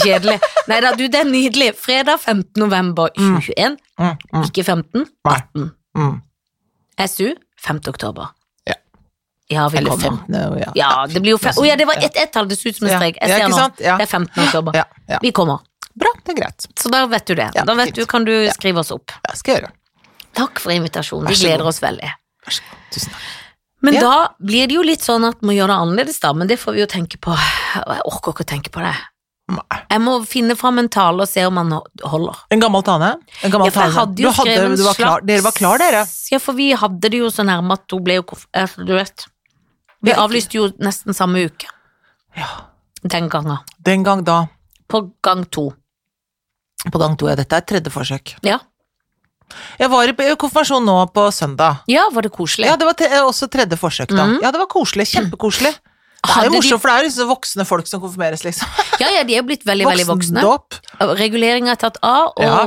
[SPEAKER 1] kjedelig. Nei da, du, det er nydelig. Fredag 15. november 2021.
[SPEAKER 2] Mm, mm,
[SPEAKER 1] Ikke 15,
[SPEAKER 2] Nei.
[SPEAKER 1] 18.
[SPEAKER 2] mm.
[SPEAKER 1] SU 5. oktober.
[SPEAKER 2] Ja.
[SPEAKER 1] Ja, vi
[SPEAKER 2] Eller
[SPEAKER 1] kommer.
[SPEAKER 2] 15. Ja. sånn.
[SPEAKER 1] Ja, det blir jo fem... Å ja, det var ett ett tall, det så ut som en
[SPEAKER 2] Ja.
[SPEAKER 1] strek. Jeg
[SPEAKER 2] Ja,
[SPEAKER 1] ser
[SPEAKER 2] ikke
[SPEAKER 1] nå.
[SPEAKER 2] sant? Ja.
[SPEAKER 1] Det er 15. oktober.
[SPEAKER 2] Ja, ja.
[SPEAKER 1] Vi kommer.
[SPEAKER 2] Bra, det er greit.
[SPEAKER 1] Så da vet du det.
[SPEAKER 2] Ja,
[SPEAKER 1] Da vet
[SPEAKER 2] fint.
[SPEAKER 1] du, kan du skrive oss opp.
[SPEAKER 2] Det skal jeg gjøre.
[SPEAKER 1] Takk for invitasjonen.
[SPEAKER 2] Vær
[SPEAKER 1] Vi
[SPEAKER 2] så
[SPEAKER 1] gleder
[SPEAKER 2] god.
[SPEAKER 1] oss veldig.
[SPEAKER 2] Vær så god. Tusen takk.
[SPEAKER 1] Men
[SPEAKER 2] Ja.
[SPEAKER 1] da blir det jo litt sånn at man gjør det annerledes, da. Men det får vi jo tenke på. Og Jeg orker ikke å tenke på det.
[SPEAKER 2] Nei.
[SPEAKER 1] Jeg må finne fram en tale og se om han holder.
[SPEAKER 2] En gammel tane? En gammel
[SPEAKER 1] Ja, for
[SPEAKER 2] tane.
[SPEAKER 1] jeg hadde jo
[SPEAKER 2] Du hadde-
[SPEAKER 1] skrevet en
[SPEAKER 2] du var klar-
[SPEAKER 1] slags
[SPEAKER 2] Dere var klar, dere?
[SPEAKER 1] Ja, for vi hadde det jo så nærme at hun ble jo konf- eh, Du vet. Vi
[SPEAKER 2] Ja, ikke-
[SPEAKER 1] avlyste jo nesten samme uke
[SPEAKER 2] Ja.
[SPEAKER 1] den gangen.
[SPEAKER 2] Den gang da.
[SPEAKER 1] På gang to.
[SPEAKER 2] På gang to. Ja, dette er tredje forsøk.
[SPEAKER 1] Ja,
[SPEAKER 2] Jeg var i på konfirmasjon nå på søndag.
[SPEAKER 1] ja var det koselig?
[SPEAKER 2] Ja, det var te også tredje forsøk, da.
[SPEAKER 1] Mhm.
[SPEAKER 2] Ja, det var koselig. Kjempekoselig. Det er
[SPEAKER 1] Hadde
[SPEAKER 2] jo
[SPEAKER 1] de-
[SPEAKER 2] morsomt, for det er jo sånne voksne folk som konfirmeres, liksom.
[SPEAKER 1] ja, ja, de er jo blitt veldig, veldig voksne.
[SPEAKER 2] Voksendåp.
[SPEAKER 1] Reguleringa er tatt av, og
[SPEAKER 2] Ja.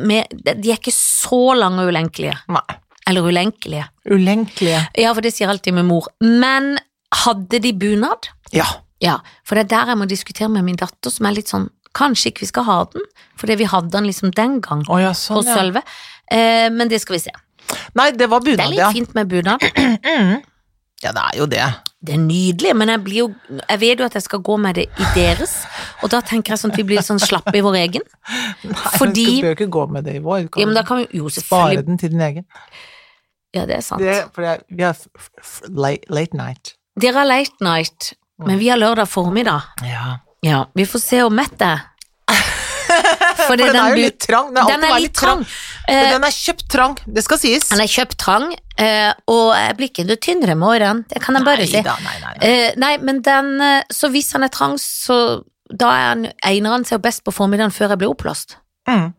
[SPEAKER 1] med, de er ikke så lange og ulenkelige.
[SPEAKER 2] Nei.
[SPEAKER 1] Eller ulenkelige.
[SPEAKER 2] Ulenkelige.
[SPEAKER 1] Ja, for det sier alltid min mor. Men hadde de bunad?
[SPEAKER 2] Ja.
[SPEAKER 1] Ja, for det er der jeg må diskutere med min datter, som er litt sånn Kanskje ikke vi skal ha den, fordi vi hadde den liksom den gang
[SPEAKER 2] Å ja,
[SPEAKER 1] på
[SPEAKER 2] sånn, ja.
[SPEAKER 1] Sølve. Eh, men det skal vi se.
[SPEAKER 2] Nei, det var
[SPEAKER 1] Det er
[SPEAKER 2] bunad,
[SPEAKER 1] litt
[SPEAKER 2] ja.
[SPEAKER 1] fint med bunad.
[SPEAKER 2] Ja, det er jo det.
[SPEAKER 1] Det er nydelig, men jeg, blir jo, jeg vet jo at jeg skal gå med det i deres, og da tenker jeg sånn at vi blir sånn slappe i vår egen.
[SPEAKER 2] Nei,
[SPEAKER 1] Fordi-
[SPEAKER 2] Du bør ikke gå med det i vår. Kan
[SPEAKER 1] Ja, men da kan vi jo
[SPEAKER 2] Spare
[SPEAKER 1] selvfølgelig
[SPEAKER 2] den til din egen.
[SPEAKER 1] Ja, det er sant.
[SPEAKER 2] Det, for det, er- vi har f- f- late, late night.
[SPEAKER 1] Dere har late night,
[SPEAKER 2] Mm.
[SPEAKER 1] men vi har lørdag formiddag.
[SPEAKER 2] Ja.
[SPEAKER 1] Ja, vi får se om Mette For
[SPEAKER 2] For den er jo litt trang. Den er,
[SPEAKER 1] Den er litt trang.
[SPEAKER 2] Men
[SPEAKER 1] Eh,
[SPEAKER 2] den er kjøpt trang, det skal sies.
[SPEAKER 1] Han er kjøpt trang, eh, og jeg blir ikke noe tynnere med årene. Det kan jeg bare si.
[SPEAKER 2] Nei da, nei, nei, nei.
[SPEAKER 1] Eh, nei, men den eh, Så hvis han er trang, så da er han Eineren ser jo best på formiddagen før jeg blir oppblåst.
[SPEAKER 2] Mm.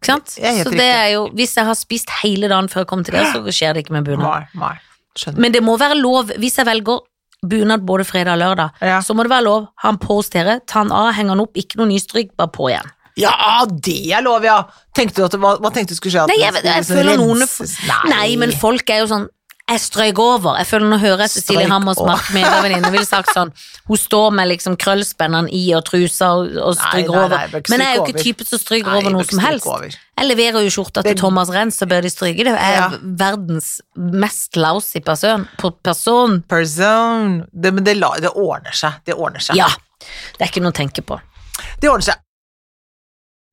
[SPEAKER 1] Ikke sant?
[SPEAKER 2] Jeg er helt
[SPEAKER 1] Så det er jo Hvis jeg har spist hele dagen før jeg kommer til det, så skjer det ikke med bunad.
[SPEAKER 2] Nei, nei. Skjønner.
[SPEAKER 1] Men det må være lov, hvis jeg velger bunad både fredag og lørdag,
[SPEAKER 2] Ja.
[SPEAKER 1] så må det være lov. Ha den på hos dere, ta den av, henge den opp, ikke noe ny stryk, bare på igjen.
[SPEAKER 2] Ja, det er lov, ja! Tenkte du at, det var- hva tenkte du skulle skje? At
[SPEAKER 1] Nei, jeg,
[SPEAKER 2] den
[SPEAKER 1] vet- jeg
[SPEAKER 2] skulle liksom
[SPEAKER 1] føler noen
[SPEAKER 2] renses? altså, Nei.
[SPEAKER 1] Nei, men folk er jo sånn jeg strøyk over. Jeg føler Nå hører jeg Cecilie
[SPEAKER 2] Strøyk
[SPEAKER 1] Hammers
[SPEAKER 2] over.
[SPEAKER 1] Mark Medavenninne ville sagt sånn Hun står med liksom krøllspennene i og trusa og, og
[SPEAKER 2] Nei,
[SPEAKER 1] stryker
[SPEAKER 2] nei,
[SPEAKER 1] over.
[SPEAKER 2] nei, bør ikke
[SPEAKER 1] Men jeg er jo
[SPEAKER 2] stryke
[SPEAKER 1] ikke
[SPEAKER 2] over.
[SPEAKER 1] typen som stryker
[SPEAKER 2] Nei,
[SPEAKER 1] over
[SPEAKER 2] bør
[SPEAKER 1] noe
[SPEAKER 2] ikke
[SPEAKER 1] som
[SPEAKER 2] stryke
[SPEAKER 1] helst.
[SPEAKER 2] over.
[SPEAKER 1] Jeg leverer jo skjorta til
[SPEAKER 2] Det-
[SPEAKER 1] Thomas Renn, så bør de stryke. Det er
[SPEAKER 2] Ja.
[SPEAKER 1] verdens mest lousy person. på person.
[SPEAKER 2] Person. Det, men det, la- det ordner seg. Det ordner seg.
[SPEAKER 1] Ja. Det er ikke noe å tenke på.
[SPEAKER 2] Det ordner seg.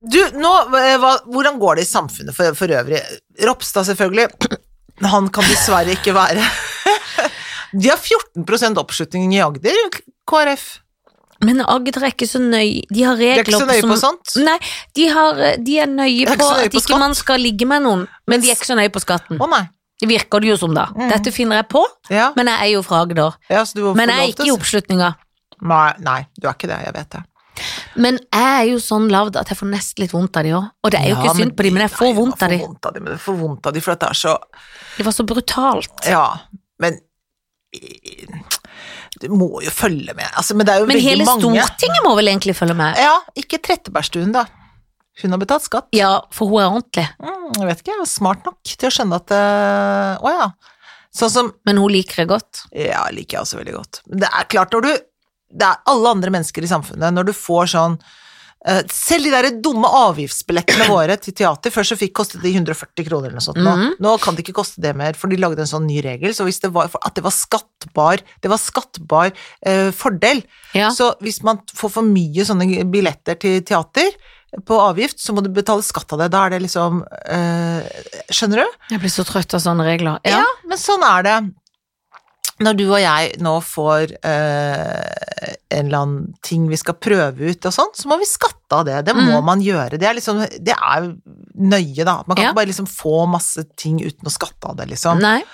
[SPEAKER 2] Du, nå, eh, hva, hvordan går det i samfunnet for, for øvrig? Ropstad, selvfølgelig. Han kan dessverre ikke være De har 14 oppslutning i Agder, KrF.
[SPEAKER 1] Men Agder er ikke så nøye De har
[SPEAKER 2] De er ikke
[SPEAKER 1] regler
[SPEAKER 2] så nøye på
[SPEAKER 1] som
[SPEAKER 2] sånt.
[SPEAKER 1] Nei, de, har, de er
[SPEAKER 2] er
[SPEAKER 1] nøye
[SPEAKER 2] ikke
[SPEAKER 1] på
[SPEAKER 2] så nøye
[SPEAKER 1] at
[SPEAKER 2] på
[SPEAKER 1] ikke man skal ligge med noen, men de er ikke så nøye på skatten.
[SPEAKER 2] Å nei.
[SPEAKER 1] Det virker
[SPEAKER 2] Mm.
[SPEAKER 1] det jo som, da. Dette finner jeg på,
[SPEAKER 2] Ja,
[SPEAKER 1] men jeg er jo fra Agder.
[SPEAKER 2] ja så du får
[SPEAKER 1] Men jeg
[SPEAKER 2] lov
[SPEAKER 1] er
[SPEAKER 2] til
[SPEAKER 1] ikke i
[SPEAKER 2] å-
[SPEAKER 1] oppslutninga.
[SPEAKER 2] Nei, nei, du er ikke det. Jeg vet det.
[SPEAKER 1] Men jeg er jo sånn lagd at jeg får nesten litt vondt av de òg. Og det er jo
[SPEAKER 2] Ja,
[SPEAKER 1] ikke synd på de, men jeg
[SPEAKER 2] nei,
[SPEAKER 1] får vondt av de.
[SPEAKER 2] Jeg får vondt av de, men jeg får vondt av de, for at det er så
[SPEAKER 1] Det var så brutalt.
[SPEAKER 2] Ja, men Du må jo følge med. Altså, men det er jo
[SPEAKER 1] Men
[SPEAKER 2] veldig
[SPEAKER 1] hele
[SPEAKER 2] mange
[SPEAKER 1] Stortinget må vel egentlig følge med?
[SPEAKER 2] Ja, ikke Trettebergstuen, da. Hun har betalt skatt.
[SPEAKER 1] Ja, for hun er ordentlig.
[SPEAKER 2] Mm, jeg vet ikke, jeg er smart nok til å skjønne at eh, Å ja. Sånn som
[SPEAKER 1] Men hun liker det godt.
[SPEAKER 2] Ja, liker jeg også veldig godt. Men det er klart når du Det er alle andre mennesker i samfunnet, når du får sånn eh, selv de der dumme avgiftsbillettene våre til teater, før så fikk kostet de 140 kroner eller noe sånt. Nå,
[SPEAKER 1] Mhm.
[SPEAKER 2] nå kan det ikke koste det mer, for de lagde en sånn ny regel. Så hvis det var, for at det var skattbar, det var skattbar eh, fordel,
[SPEAKER 1] Ja.
[SPEAKER 2] så hvis man får for mye sånne billetter til teater på avgift, så må du betale skatt av det. Da er det liksom eh, Skjønner du?
[SPEAKER 1] Jeg blir så trøtt av sånne regler.
[SPEAKER 2] Ja.
[SPEAKER 1] Ja.
[SPEAKER 2] men sånn er det. Når du og jeg nå får eh, en eller annen ting vi skal prøve ut og sånn, så må vi skatte av det. Det må
[SPEAKER 1] Mm.
[SPEAKER 2] man gjøre. Det er, liksom, det er nøye, da. Man kan
[SPEAKER 1] Ja.
[SPEAKER 2] ikke bare liksom få masse ting uten å skatte av det, liksom.
[SPEAKER 1] Nei.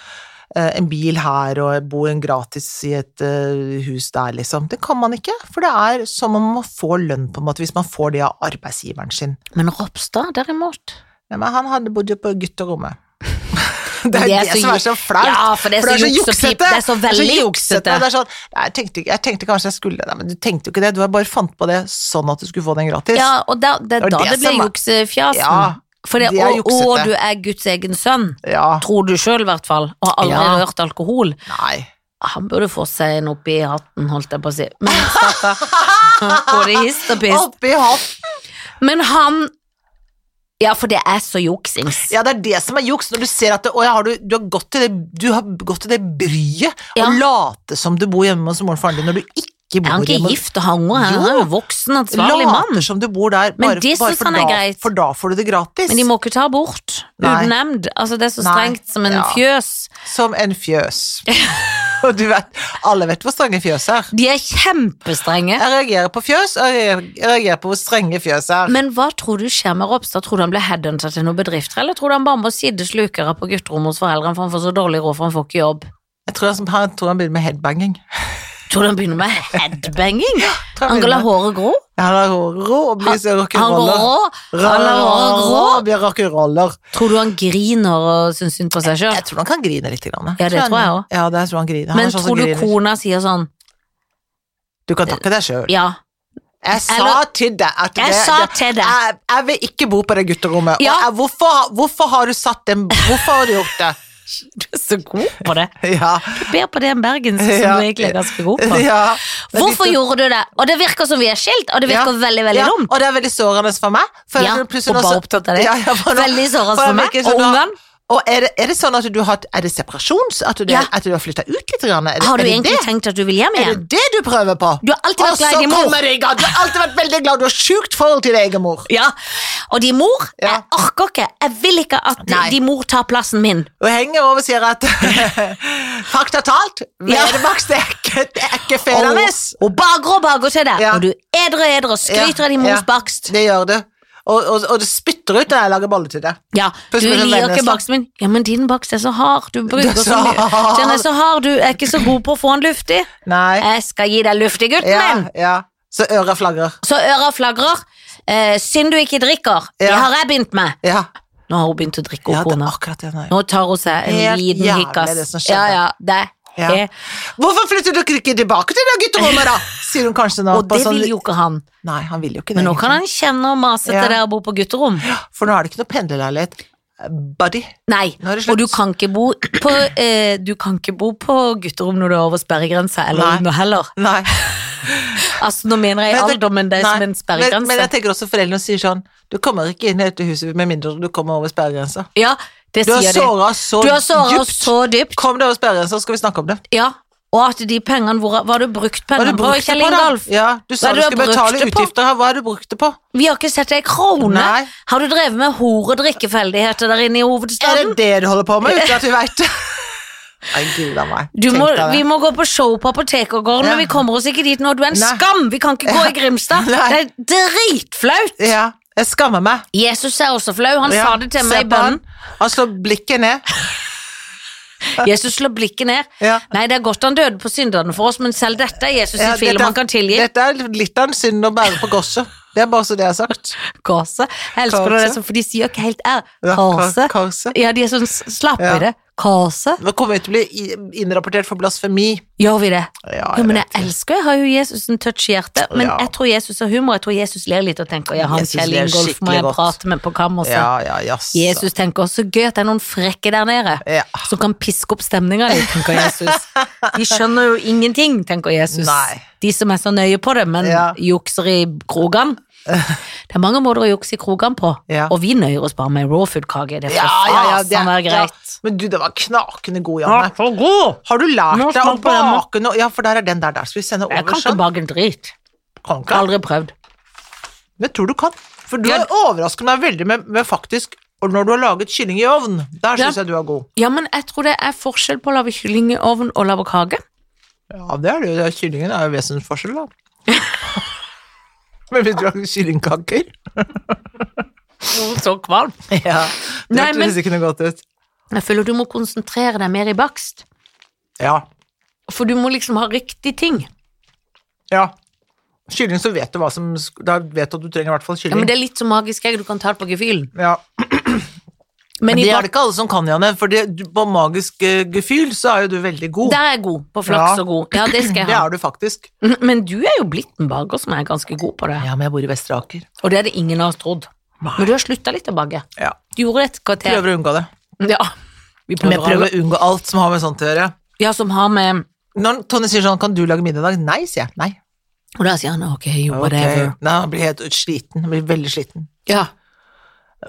[SPEAKER 2] Eh, en bil her og bo en gratis i et eh, hus der, liksom. Det kan man ikke, for det er som om man får lønn, på en måte, hvis man får det av arbeidsgiveren sin.
[SPEAKER 1] Men Ropstad, derimot
[SPEAKER 2] Ja, men han hadde bodd jo på gutterommet.
[SPEAKER 1] Men
[SPEAKER 2] det er det,
[SPEAKER 1] så
[SPEAKER 2] som
[SPEAKER 1] ju-
[SPEAKER 2] er så flaut.
[SPEAKER 1] Ja, for det er
[SPEAKER 2] For det
[SPEAKER 1] så,
[SPEAKER 2] er så
[SPEAKER 1] juksepip.
[SPEAKER 2] juksete.
[SPEAKER 1] Det er så veldig
[SPEAKER 2] Det er så juksete,
[SPEAKER 1] juksete.
[SPEAKER 2] og det er sånn, «Nei, jeg, tenkte, ikke- jeg tenkte kanskje jeg skulle Nei, men du tenkte jo ikke det. Du har bare fant på det sånn at du skulle få den gratis.
[SPEAKER 1] Ja, og da, det,
[SPEAKER 2] Det var
[SPEAKER 1] da
[SPEAKER 2] det
[SPEAKER 1] det ble
[SPEAKER 2] som var-
[SPEAKER 1] juksefjasen.
[SPEAKER 2] Ja,
[SPEAKER 1] For det,
[SPEAKER 2] det er
[SPEAKER 1] og,
[SPEAKER 2] juksete.
[SPEAKER 1] og du er Guds egen sønn,
[SPEAKER 2] Ja.
[SPEAKER 1] tror du sjøl i hvert fall, og har aldri
[SPEAKER 2] Ja.
[SPEAKER 1] rørt alkohol.
[SPEAKER 2] Nei.
[SPEAKER 1] Han burde få seg en oppi hatten, holdt jeg på å si. Men stakkar. Både hist og pist.
[SPEAKER 2] Oppi hatt.
[SPEAKER 1] Men han Ja, for det er så juksings.
[SPEAKER 2] Ja, det er det som er juks, når du ser at det, å, ja, har du, du, har gått til det, du har gått til det bryet å
[SPEAKER 1] Ja.
[SPEAKER 2] late som du bor hjemme hos moren og faren din når du ikke
[SPEAKER 1] Er
[SPEAKER 2] bor
[SPEAKER 1] han ikke
[SPEAKER 2] hjemme.
[SPEAKER 1] gift og har unger? Han
[SPEAKER 2] Jo.
[SPEAKER 1] er jo voksen, ansvarlig mann.
[SPEAKER 2] Later som du bor der,
[SPEAKER 1] Men
[SPEAKER 2] bare,
[SPEAKER 1] det
[SPEAKER 2] bare
[SPEAKER 1] synes
[SPEAKER 2] for,
[SPEAKER 1] han er
[SPEAKER 2] da,
[SPEAKER 1] greit.
[SPEAKER 2] for da får du det gratis.
[SPEAKER 1] Men de må ikke ta bort
[SPEAKER 2] Nei.
[SPEAKER 1] uten nemnd. Altså, det er så
[SPEAKER 2] Nei.
[SPEAKER 1] strengt som en
[SPEAKER 2] Ja.
[SPEAKER 1] fjøs.
[SPEAKER 2] Som en fjøs. Og du vet, alle vet hvor strenge fjøs er.
[SPEAKER 1] De er kjempestrenge.
[SPEAKER 2] Jeg reagerer på fjøs, og jeg reagerer på hvor strenge fjøs er.
[SPEAKER 1] Men hva tror du skjer med Ropstad? Tror du han blir headhunta til noen bedrifter, eller tror du han bare må sidde slukere på gutterommet hos foreldrene for han får så dårlig råd for han får ikke jobb?
[SPEAKER 2] Jeg tror han, han, tror han begynner med headbanging.
[SPEAKER 1] Tror du han begynner med headbanging?
[SPEAKER 2] Tror
[SPEAKER 1] Han kan la
[SPEAKER 2] begynner-
[SPEAKER 1] håret gro?
[SPEAKER 2] Ja, han har rå og blir så
[SPEAKER 1] Han går
[SPEAKER 2] rock'n'roller.
[SPEAKER 1] rå? Han lar håret grå?
[SPEAKER 2] og blir rock'n'roller.
[SPEAKER 1] Tror du han griner og syns synd på seg sjøl?
[SPEAKER 2] Jeg tror han kan grine litt. Grann.
[SPEAKER 1] Ja, det
[SPEAKER 2] han-
[SPEAKER 1] tror jeg også.
[SPEAKER 2] Ja, det tror han griner. Han
[SPEAKER 1] Men
[SPEAKER 2] er sånn som
[SPEAKER 1] tror du
[SPEAKER 2] griner.
[SPEAKER 1] kona sier sånn
[SPEAKER 2] Du kan takke deg sjøl.
[SPEAKER 1] Ja,
[SPEAKER 2] Jeg sa
[SPEAKER 1] Eller-
[SPEAKER 2] til deg at
[SPEAKER 1] jeg
[SPEAKER 2] det-
[SPEAKER 1] sa
[SPEAKER 2] det- Ah.
[SPEAKER 1] til deg
[SPEAKER 2] jeg, jeg vil ikke bo på det gutterommet.
[SPEAKER 1] Ja.
[SPEAKER 2] Og jeg, hvorfor, hvorfor har du satt den Hvorfor har du gjort det?
[SPEAKER 1] Du er så god på det.
[SPEAKER 2] Ja.
[SPEAKER 1] Du ber på det en bergensk som
[SPEAKER 2] Ja.
[SPEAKER 1] du egentlig er ganske god på.
[SPEAKER 2] ja. Det er
[SPEAKER 1] Hvorfor
[SPEAKER 2] litt-
[SPEAKER 1] gjorde du det? Og det virker som vi er skilt, og det virker
[SPEAKER 2] Ja.
[SPEAKER 1] veldig, veldig
[SPEAKER 2] ja,
[SPEAKER 1] dumt.
[SPEAKER 2] Og det er veldig sårende for meg. For
[SPEAKER 1] Ja,
[SPEAKER 2] jeg- plutselig
[SPEAKER 1] og
[SPEAKER 2] også-
[SPEAKER 1] bare opptatt av det.
[SPEAKER 2] Ja, ja, for nå-
[SPEAKER 1] Veldig
[SPEAKER 2] for
[SPEAKER 1] sårende
[SPEAKER 2] jeg
[SPEAKER 1] for meg.
[SPEAKER 2] merker
[SPEAKER 1] Og
[SPEAKER 2] sånn, nå-
[SPEAKER 1] ungene?
[SPEAKER 2] Og er det, er det sånn at du har hatt Er det separasjons? At du,
[SPEAKER 1] Ja.
[SPEAKER 2] at du har flytta ut litt? Grann? Er det,
[SPEAKER 1] Har du
[SPEAKER 2] er det
[SPEAKER 1] egentlig
[SPEAKER 2] det?
[SPEAKER 1] tenkt at du vil hjem
[SPEAKER 2] Er
[SPEAKER 1] igjen?
[SPEAKER 2] det det du prøver på?
[SPEAKER 1] Du har alltid
[SPEAKER 2] Og
[SPEAKER 1] vært
[SPEAKER 2] så
[SPEAKER 1] glad i din mor.
[SPEAKER 2] kommer det i gang! Du har alltid vært veldig glad, du har sjukt forhold til din egen mor.
[SPEAKER 1] Ja. Og de mor,
[SPEAKER 2] Ja.
[SPEAKER 1] jeg orker ikke. Jeg vil ikke at de,
[SPEAKER 2] Nei.
[SPEAKER 1] de mor tar plassen min.
[SPEAKER 2] Og henger over og sier at fakta talt,
[SPEAKER 1] Ja.
[SPEAKER 2] Vedemax, det er ikke, det er ikke
[SPEAKER 1] Og,
[SPEAKER 2] fedrenes.
[SPEAKER 1] og bager og bager til deg.
[SPEAKER 2] Ja.
[SPEAKER 1] Og du edrer og edrer og skryter
[SPEAKER 2] Ja,
[SPEAKER 1] av din mors
[SPEAKER 2] ja.
[SPEAKER 1] bakst.
[SPEAKER 2] Det gjør det. Og, og, og det spytter ut når jeg lager bolle til deg.
[SPEAKER 1] Ja, du
[SPEAKER 2] Først må jeg
[SPEAKER 1] liker
[SPEAKER 2] vende
[SPEAKER 1] ikke
[SPEAKER 2] slag.
[SPEAKER 1] baksten min. Ja, men din bakst er så hard. Du bruker
[SPEAKER 2] er
[SPEAKER 1] så
[SPEAKER 2] så
[SPEAKER 1] mye.
[SPEAKER 2] hard.
[SPEAKER 1] Den er så hard, du er ikke så god på å få den luftig.
[SPEAKER 2] Nei.
[SPEAKER 1] Jeg skal gi deg luft i gutten
[SPEAKER 2] Ja,
[SPEAKER 1] min.
[SPEAKER 2] ja. Så øra flagrer.
[SPEAKER 1] Så øra flagrer. Eh, synd du ikke drikker. Det
[SPEAKER 2] Ja.
[SPEAKER 1] har jeg begynt med.
[SPEAKER 2] Ja.
[SPEAKER 1] Nå har hun begynt å drikke,
[SPEAKER 2] ja,
[SPEAKER 1] hun
[SPEAKER 2] det er
[SPEAKER 1] kona.
[SPEAKER 2] akkurat det. Nei.
[SPEAKER 1] Nå tar hun seg en
[SPEAKER 2] Helt
[SPEAKER 1] liten
[SPEAKER 2] jævlig
[SPEAKER 1] hikkas.
[SPEAKER 2] det som skjedde.
[SPEAKER 1] Ja, ja, det er
[SPEAKER 2] Ja.
[SPEAKER 1] helt-
[SPEAKER 2] Hvorfor flytter dere ikke tilbake til det gutterommet, da? Sier hun kanskje nå.
[SPEAKER 1] Og
[SPEAKER 2] på
[SPEAKER 1] det
[SPEAKER 2] sånn-
[SPEAKER 1] vil jo ikke han.
[SPEAKER 2] Nei, han vil jo ikke det.
[SPEAKER 1] Men nå kan
[SPEAKER 2] egentlig.
[SPEAKER 1] han kjenne og mase
[SPEAKER 2] Ja.
[SPEAKER 1] til deg og bo på gutterom.
[SPEAKER 2] For nå er det ikke noe pendlerleilighet. Buddy.
[SPEAKER 1] Nei,
[SPEAKER 2] Nå er det slutt.
[SPEAKER 1] og du kan ikke bo på, eh, du kan ikke bo på gutterom når du er over sperregrensa, eller
[SPEAKER 2] Nei.
[SPEAKER 1] under heller.
[SPEAKER 2] Nei.
[SPEAKER 1] Altså, nå mener jeg i
[SPEAKER 2] Men det-
[SPEAKER 1] alderdommen det er
[SPEAKER 2] nei,
[SPEAKER 1] som en
[SPEAKER 2] Men, men
[SPEAKER 1] sperregrense.
[SPEAKER 2] jeg tenker også foreldrene sier sånn Du kommer ikke inn i dette huset med mindre du kommer over sperregrensa.
[SPEAKER 1] Ja, det
[SPEAKER 2] Du har
[SPEAKER 1] sier de.
[SPEAKER 2] såra så
[SPEAKER 1] Du har såra
[SPEAKER 2] dypt.
[SPEAKER 1] så dypt.
[SPEAKER 2] Kom deg over sperregrensa, så skal vi snakke om det.
[SPEAKER 1] Ja, og at de pengene Hvor hva har du brukt
[SPEAKER 2] Hva har
[SPEAKER 1] pengene
[SPEAKER 2] du
[SPEAKER 1] på,
[SPEAKER 2] brukt det
[SPEAKER 1] Kjell
[SPEAKER 2] på, da?
[SPEAKER 1] Ingolf?
[SPEAKER 2] Ja, du sa
[SPEAKER 1] Hva er
[SPEAKER 2] du
[SPEAKER 1] det du
[SPEAKER 2] skulle
[SPEAKER 1] har brukt
[SPEAKER 2] betale
[SPEAKER 1] det på?
[SPEAKER 2] utgifter her. Hva har du brukt det på?
[SPEAKER 1] Vi har ikke sett ei krone.
[SPEAKER 2] Nei.
[SPEAKER 1] Har du drevet med hor og drikkefeldigheter der inne i
[SPEAKER 2] Er det
[SPEAKER 1] hovedstaden?
[SPEAKER 2] det du holder på med, uten at vi veit det? Nei, gud a meg.
[SPEAKER 1] Du
[SPEAKER 2] Tenk
[SPEAKER 1] må,
[SPEAKER 2] deg det.
[SPEAKER 1] vi må gå på show på Apotekergården,
[SPEAKER 2] Ja.
[SPEAKER 1] men vi kommer oss ikke dit nå. Du er en
[SPEAKER 2] Nei.
[SPEAKER 1] skam! Vi kan ikke gå i Grimstad.
[SPEAKER 2] Nei.
[SPEAKER 1] Det er dritflaut!
[SPEAKER 2] Ja, jeg skammer meg.
[SPEAKER 1] Jesus er også flau. Han
[SPEAKER 2] Ja,
[SPEAKER 1] sa det til
[SPEAKER 2] se
[SPEAKER 1] meg i
[SPEAKER 2] på han.
[SPEAKER 1] bønnen.
[SPEAKER 2] Han slår blikket ned.
[SPEAKER 1] Jesus slår blikket ned.
[SPEAKER 2] Ja.
[SPEAKER 1] Nei, det er godt han døde på syndene for oss, men selv dette er Jesus sin
[SPEAKER 2] Ja,
[SPEAKER 1] film
[SPEAKER 2] dette-
[SPEAKER 1] han kan tilgi.
[SPEAKER 2] Dette er litt av en synd å bære på korset. Det er bare så det er sagt.
[SPEAKER 1] Korset. Jeg elsker når det
[SPEAKER 2] Korset.
[SPEAKER 1] er sånn, for de sier jo ikke helt R.
[SPEAKER 2] Ja, kor-
[SPEAKER 1] Korset.
[SPEAKER 2] korset.
[SPEAKER 1] Ja, de er sånn s- slappe
[SPEAKER 2] Ja.
[SPEAKER 1] i det. Korset.
[SPEAKER 2] Nå kommer jeg til å bli i- innrapportert for blasfemi.
[SPEAKER 1] Gjør vi det?
[SPEAKER 2] Ja,
[SPEAKER 1] Jo, men
[SPEAKER 2] vet
[SPEAKER 1] jeg elsker, jeg har jo Jesus en touch i hjertet, men
[SPEAKER 2] Ja.
[SPEAKER 1] jeg tror Jesus har humor, jeg tror Jesus ler litt og tenker, ja, han
[SPEAKER 2] Jesus
[SPEAKER 1] Kjell
[SPEAKER 2] ler
[SPEAKER 1] Ingolf må
[SPEAKER 2] skikkelig
[SPEAKER 1] jeg
[SPEAKER 2] godt.
[SPEAKER 1] prate med på
[SPEAKER 2] det.
[SPEAKER 1] kammerset.
[SPEAKER 2] Ja, ja, jaså.
[SPEAKER 1] Jesus tenker, så gøy at det er noen frekke der nede,
[SPEAKER 2] Ja.
[SPEAKER 1] som kan piske opp stemninga di, tenker Jesus. De skjønner jo ingenting, tenker Jesus.
[SPEAKER 2] Nei.
[SPEAKER 1] De som er så nøye på det, men
[SPEAKER 2] Ja.
[SPEAKER 1] jukser i krogene. Det er mange måter å jukse i krogene på,
[SPEAKER 2] Ja.
[SPEAKER 1] og vi nøyer oss bare med raw food-kake. Det
[SPEAKER 2] Ja, ja,
[SPEAKER 1] skal
[SPEAKER 2] ja, det-
[SPEAKER 1] fasen være greit.
[SPEAKER 2] ja. Men du, det var knakende god, Janne.
[SPEAKER 1] for god!
[SPEAKER 2] Har du
[SPEAKER 1] Nå
[SPEAKER 2] lært deg å
[SPEAKER 1] smakte jeg den.
[SPEAKER 2] bake noe? Ja, for der er den der. Der skal vi sende
[SPEAKER 1] Jeg
[SPEAKER 2] over
[SPEAKER 1] kan
[SPEAKER 2] sånn.
[SPEAKER 1] ikke bake en drit.
[SPEAKER 2] Kan ikke.
[SPEAKER 1] Aldri prøvd.
[SPEAKER 2] Men jeg tror du kan. For du
[SPEAKER 1] Ja.
[SPEAKER 2] har overrasket meg veldig med, med faktisk og når du har laget kylling i ovn. Der
[SPEAKER 1] Ja.
[SPEAKER 2] syns jeg du er god.
[SPEAKER 1] Ja, men jeg tror det er forskjell på å lage kylling i ovn og lage kake.
[SPEAKER 2] Ja, det er det. jo. Det er- Kyllingen er jo vesensforskjell, da. Men hvis du lager kyllingkaker
[SPEAKER 1] Mm, Så kvalm.
[SPEAKER 2] Ja, det
[SPEAKER 1] Nei, men-
[SPEAKER 2] hørtes ikke noe godt ut.
[SPEAKER 1] Jeg føler du må konsentrere deg mer i bakst,
[SPEAKER 2] Ja.
[SPEAKER 1] for du må liksom ha riktig ting.
[SPEAKER 2] ja. Kylling, så vet du hva som sk- Da vet du at du trenger i hvert fall
[SPEAKER 1] Ja, men
[SPEAKER 2] kylling.
[SPEAKER 1] det er litt så magisk egg, du kan ta det på gefühlen.
[SPEAKER 2] Ja,
[SPEAKER 1] Men i
[SPEAKER 2] det er
[SPEAKER 1] bak
[SPEAKER 2] det ikke alle som kan, Janne. For det, du- på magisk eh, gefühl så er jo du veldig god.
[SPEAKER 1] der er jeg god, på flaks
[SPEAKER 2] Ja.
[SPEAKER 1] og god. Ja, det skal jeg
[SPEAKER 2] Det
[SPEAKER 1] ha. Mm,
[SPEAKER 2] er du faktisk.
[SPEAKER 1] Men du er jo blitt en baker som er ganske god på det,
[SPEAKER 2] Ja, men jeg bor i Vestre Aker.
[SPEAKER 1] og det er det ingen av oss trodd. Men du har slutta litt å bake.
[SPEAKER 2] Ja.
[SPEAKER 1] Du gjorde et kvarter.
[SPEAKER 2] Prøver å unngå det.
[SPEAKER 1] Ja. Vi
[SPEAKER 2] Men
[SPEAKER 1] prøver,
[SPEAKER 2] jeg prøver
[SPEAKER 1] alle.
[SPEAKER 2] å unngå alt som har med sånt å gjøre.
[SPEAKER 1] Ja, som har med
[SPEAKER 2] Når Tonje sier sånn, kan du lage middag i dag? Nei, sier jeg. Nei.
[SPEAKER 1] Og da sier han ok, jo,
[SPEAKER 2] Ok.
[SPEAKER 1] whatever.
[SPEAKER 2] Nei, han blir helt sliten. Han blir veldig sliten.
[SPEAKER 1] Ja.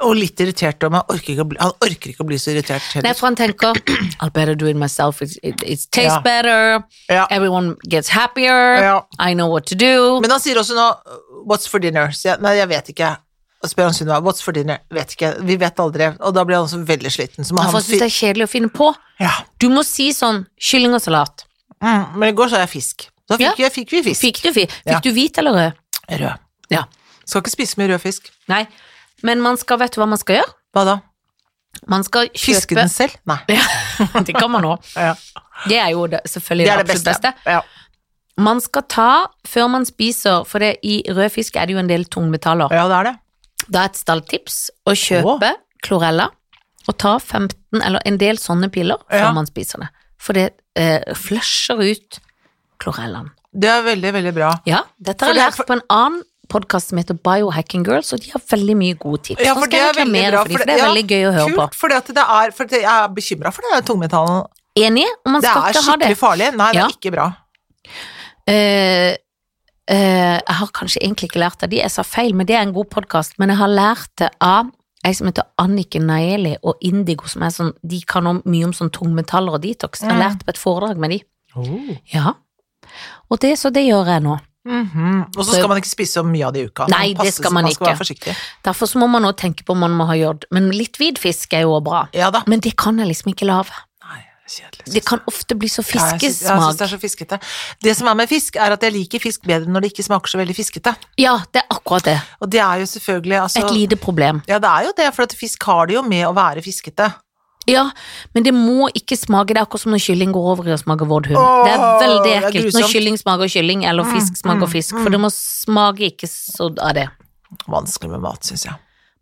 [SPEAKER 2] Og litt irritert, og han orker ikke å bli, han orker ikke å bli så irritert
[SPEAKER 1] Nei,
[SPEAKER 2] heller.
[SPEAKER 1] for han tenker I'll better do it myself, it, it, it tastes
[SPEAKER 2] Ja.
[SPEAKER 1] better,
[SPEAKER 2] Ja.
[SPEAKER 1] everyone gets happier,
[SPEAKER 2] Ja.
[SPEAKER 1] I know what to do.
[SPEAKER 2] Men han sier også nå, what's for dinner? Sier jeg, nei, jeg vet ikke. Og spør han Sunniva, what's for dinner? Vet ikke, vi vet aldri. Og da blir han også veldig sliten. Så må
[SPEAKER 1] han
[SPEAKER 2] han
[SPEAKER 1] får synes det
[SPEAKER 2] fi-
[SPEAKER 1] er kjedelig å finne på.
[SPEAKER 2] ja.
[SPEAKER 1] Du må si sånn kylling og salat.
[SPEAKER 2] mm, men i går sa jeg fisk. Da fikk, jeg, fikk vi fisk.
[SPEAKER 1] Fikk du, fi- fikk
[SPEAKER 2] Ja.
[SPEAKER 1] du hvit eller rød?
[SPEAKER 2] Rød.
[SPEAKER 1] Ja.
[SPEAKER 2] Skal ikke spise med rød fisk.
[SPEAKER 1] Nei. Men man skal, vet du hva man skal gjøre?
[SPEAKER 2] Hva da?
[SPEAKER 1] Man skal kjøpe
[SPEAKER 2] Fiske den selv? Nei.
[SPEAKER 1] Ja, det kan man òg.
[SPEAKER 2] Ja.
[SPEAKER 1] Det er jo det,
[SPEAKER 2] Det
[SPEAKER 1] selvfølgelig det,
[SPEAKER 2] er det
[SPEAKER 1] absolutt
[SPEAKER 2] beste.
[SPEAKER 1] beste.
[SPEAKER 2] Ja.
[SPEAKER 1] Man skal ta før man spiser, for det, i rød fisk er det jo en del tungmetaller.
[SPEAKER 2] ja, det er det.
[SPEAKER 1] Da er et stalltips å kjøpe klorella og ta 15 eller en del sånne piller før
[SPEAKER 2] Ja.
[SPEAKER 1] man spiser det. For det eh, flusher ut klorellaen.
[SPEAKER 2] Det er veldig, veldig bra.
[SPEAKER 1] Ja, dette
[SPEAKER 2] For
[SPEAKER 1] har
[SPEAKER 2] det er
[SPEAKER 1] jeg lært
[SPEAKER 2] for-
[SPEAKER 1] på en annen podkast som heter Biohacking Girls, og de har veldig mye gode tips.
[SPEAKER 2] Ja,
[SPEAKER 1] Nå
[SPEAKER 2] for
[SPEAKER 1] skal
[SPEAKER 2] det
[SPEAKER 1] jeg
[SPEAKER 2] er veldig
[SPEAKER 1] reklamere
[SPEAKER 2] bra.
[SPEAKER 1] for de, for det er
[SPEAKER 2] ja,
[SPEAKER 1] veldig gøy å høre
[SPEAKER 2] kult, fordi at det er, for det, jeg er bekymra for det tungmetallen.
[SPEAKER 1] på. Enig? Og man
[SPEAKER 2] Det
[SPEAKER 1] skal
[SPEAKER 2] er
[SPEAKER 1] ikke ha det.
[SPEAKER 2] skikkelig farlig. Nei, det
[SPEAKER 1] Ja.
[SPEAKER 2] er ikke bra.
[SPEAKER 1] Eh, eh, jeg har kanskje egentlig ikke lært av de, jeg sa feil, men det er en god podkast. Men jeg har lært det av ei som heter Anniken Naeli og Indigo, som er sånn, de kan om, mye om sånn tungmetaller og detox. Jeg har
[SPEAKER 2] Mm.
[SPEAKER 1] lært på et foredrag med de. Ja. Og det, så det gjør jeg nå.
[SPEAKER 2] Mhm. Og så
[SPEAKER 1] Så-
[SPEAKER 2] skal man ikke spise så mye av det i uka.
[SPEAKER 1] Nei, det
[SPEAKER 2] passer-
[SPEAKER 1] skal man
[SPEAKER 2] skal være
[SPEAKER 1] ikke.
[SPEAKER 2] forsiktig.
[SPEAKER 1] Derfor så må man nå tenke på om man må ha gjort Men litt hvitfisk er jo også bra.
[SPEAKER 2] Ja da.
[SPEAKER 1] Men det kan jeg liksom ikke lage.
[SPEAKER 2] Nei, kjedelig.
[SPEAKER 1] Det kan ofte bli så
[SPEAKER 2] Ja, jeg syns- Ja, jeg syns det
[SPEAKER 1] fiskesmak.
[SPEAKER 2] er så fiskete. Det som er med fisk, er at jeg liker fisk bedre når det ikke smaker så veldig fiskete.
[SPEAKER 1] Ja, det er akkurat det.
[SPEAKER 2] Og det er jo selvfølgelig altså,
[SPEAKER 1] Et lite problem.
[SPEAKER 2] Ja, det er jo det, for at fisk har det jo med å være fiskete.
[SPEAKER 1] Ja, men det må ikke smake Det er akkurat som når kylling går over i å smake våt hund.
[SPEAKER 2] Åh,
[SPEAKER 1] Det er veldig
[SPEAKER 2] det er
[SPEAKER 1] ekkelt når
[SPEAKER 2] grusomt. Mm,
[SPEAKER 1] kylling smaker kylling, eller fisk smaker fisk, for det må smake ikke så av det.
[SPEAKER 2] Vanskelig med mat, syns jeg.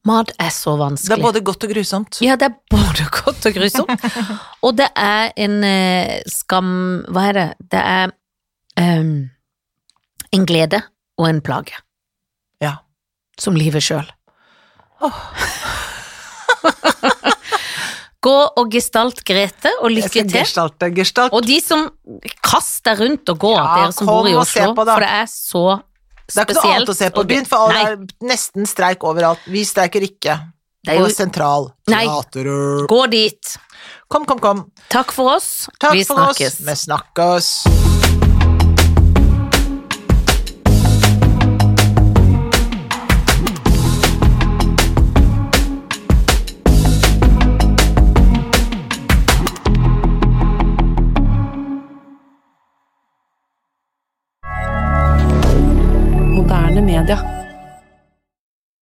[SPEAKER 1] Mat er så
[SPEAKER 2] Det er
[SPEAKER 1] vanskelig.
[SPEAKER 2] både godt og grusomt.
[SPEAKER 1] Ja, det er både godt og grusomt. Og det er en eh, skam Hva er det? Det er em, en glede og en plage.
[SPEAKER 2] Ja.
[SPEAKER 1] Som livet sjøl.
[SPEAKER 2] Åh.
[SPEAKER 1] Gå og gestalt Grete, og lykke
[SPEAKER 2] Jeg eh, skal
[SPEAKER 1] til.
[SPEAKER 2] gestalte, gestalte.
[SPEAKER 1] Og de som kaster rundt og går,
[SPEAKER 2] Ja,
[SPEAKER 1] dere som bor i
[SPEAKER 2] kom og se
[SPEAKER 1] Oslo,
[SPEAKER 2] på det.
[SPEAKER 1] for det er så spesielt.
[SPEAKER 2] Det er ikke noe annet å se på.
[SPEAKER 1] og gøy.
[SPEAKER 2] Begynn, for
[SPEAKER 1] Nei,
[SPEAKER 2] det er nesten streik overalt. Vi streiker ikke.
[SPEAKER 1] det er
[SPEAKER 2] På
[SPEAKER 1] jo,
[SPEAKER 2] sentral.
[SPEAKER 1] Nei.
[SPEAKER 2] Teater.
[SPEAKER 1] gå dit.
[SPEAKER 2] Kom, kom, kom.
[SPEAKER 1] Takk for oss.
[SPEAKER 2] Takk
[SPEAKER 1] Vi
[SPEAKER 2] for
[SPEAKER 1] snakkes.
[SPEAKER 2] oss. Vi snakkes.
[SPEAKER 3] Moderne media.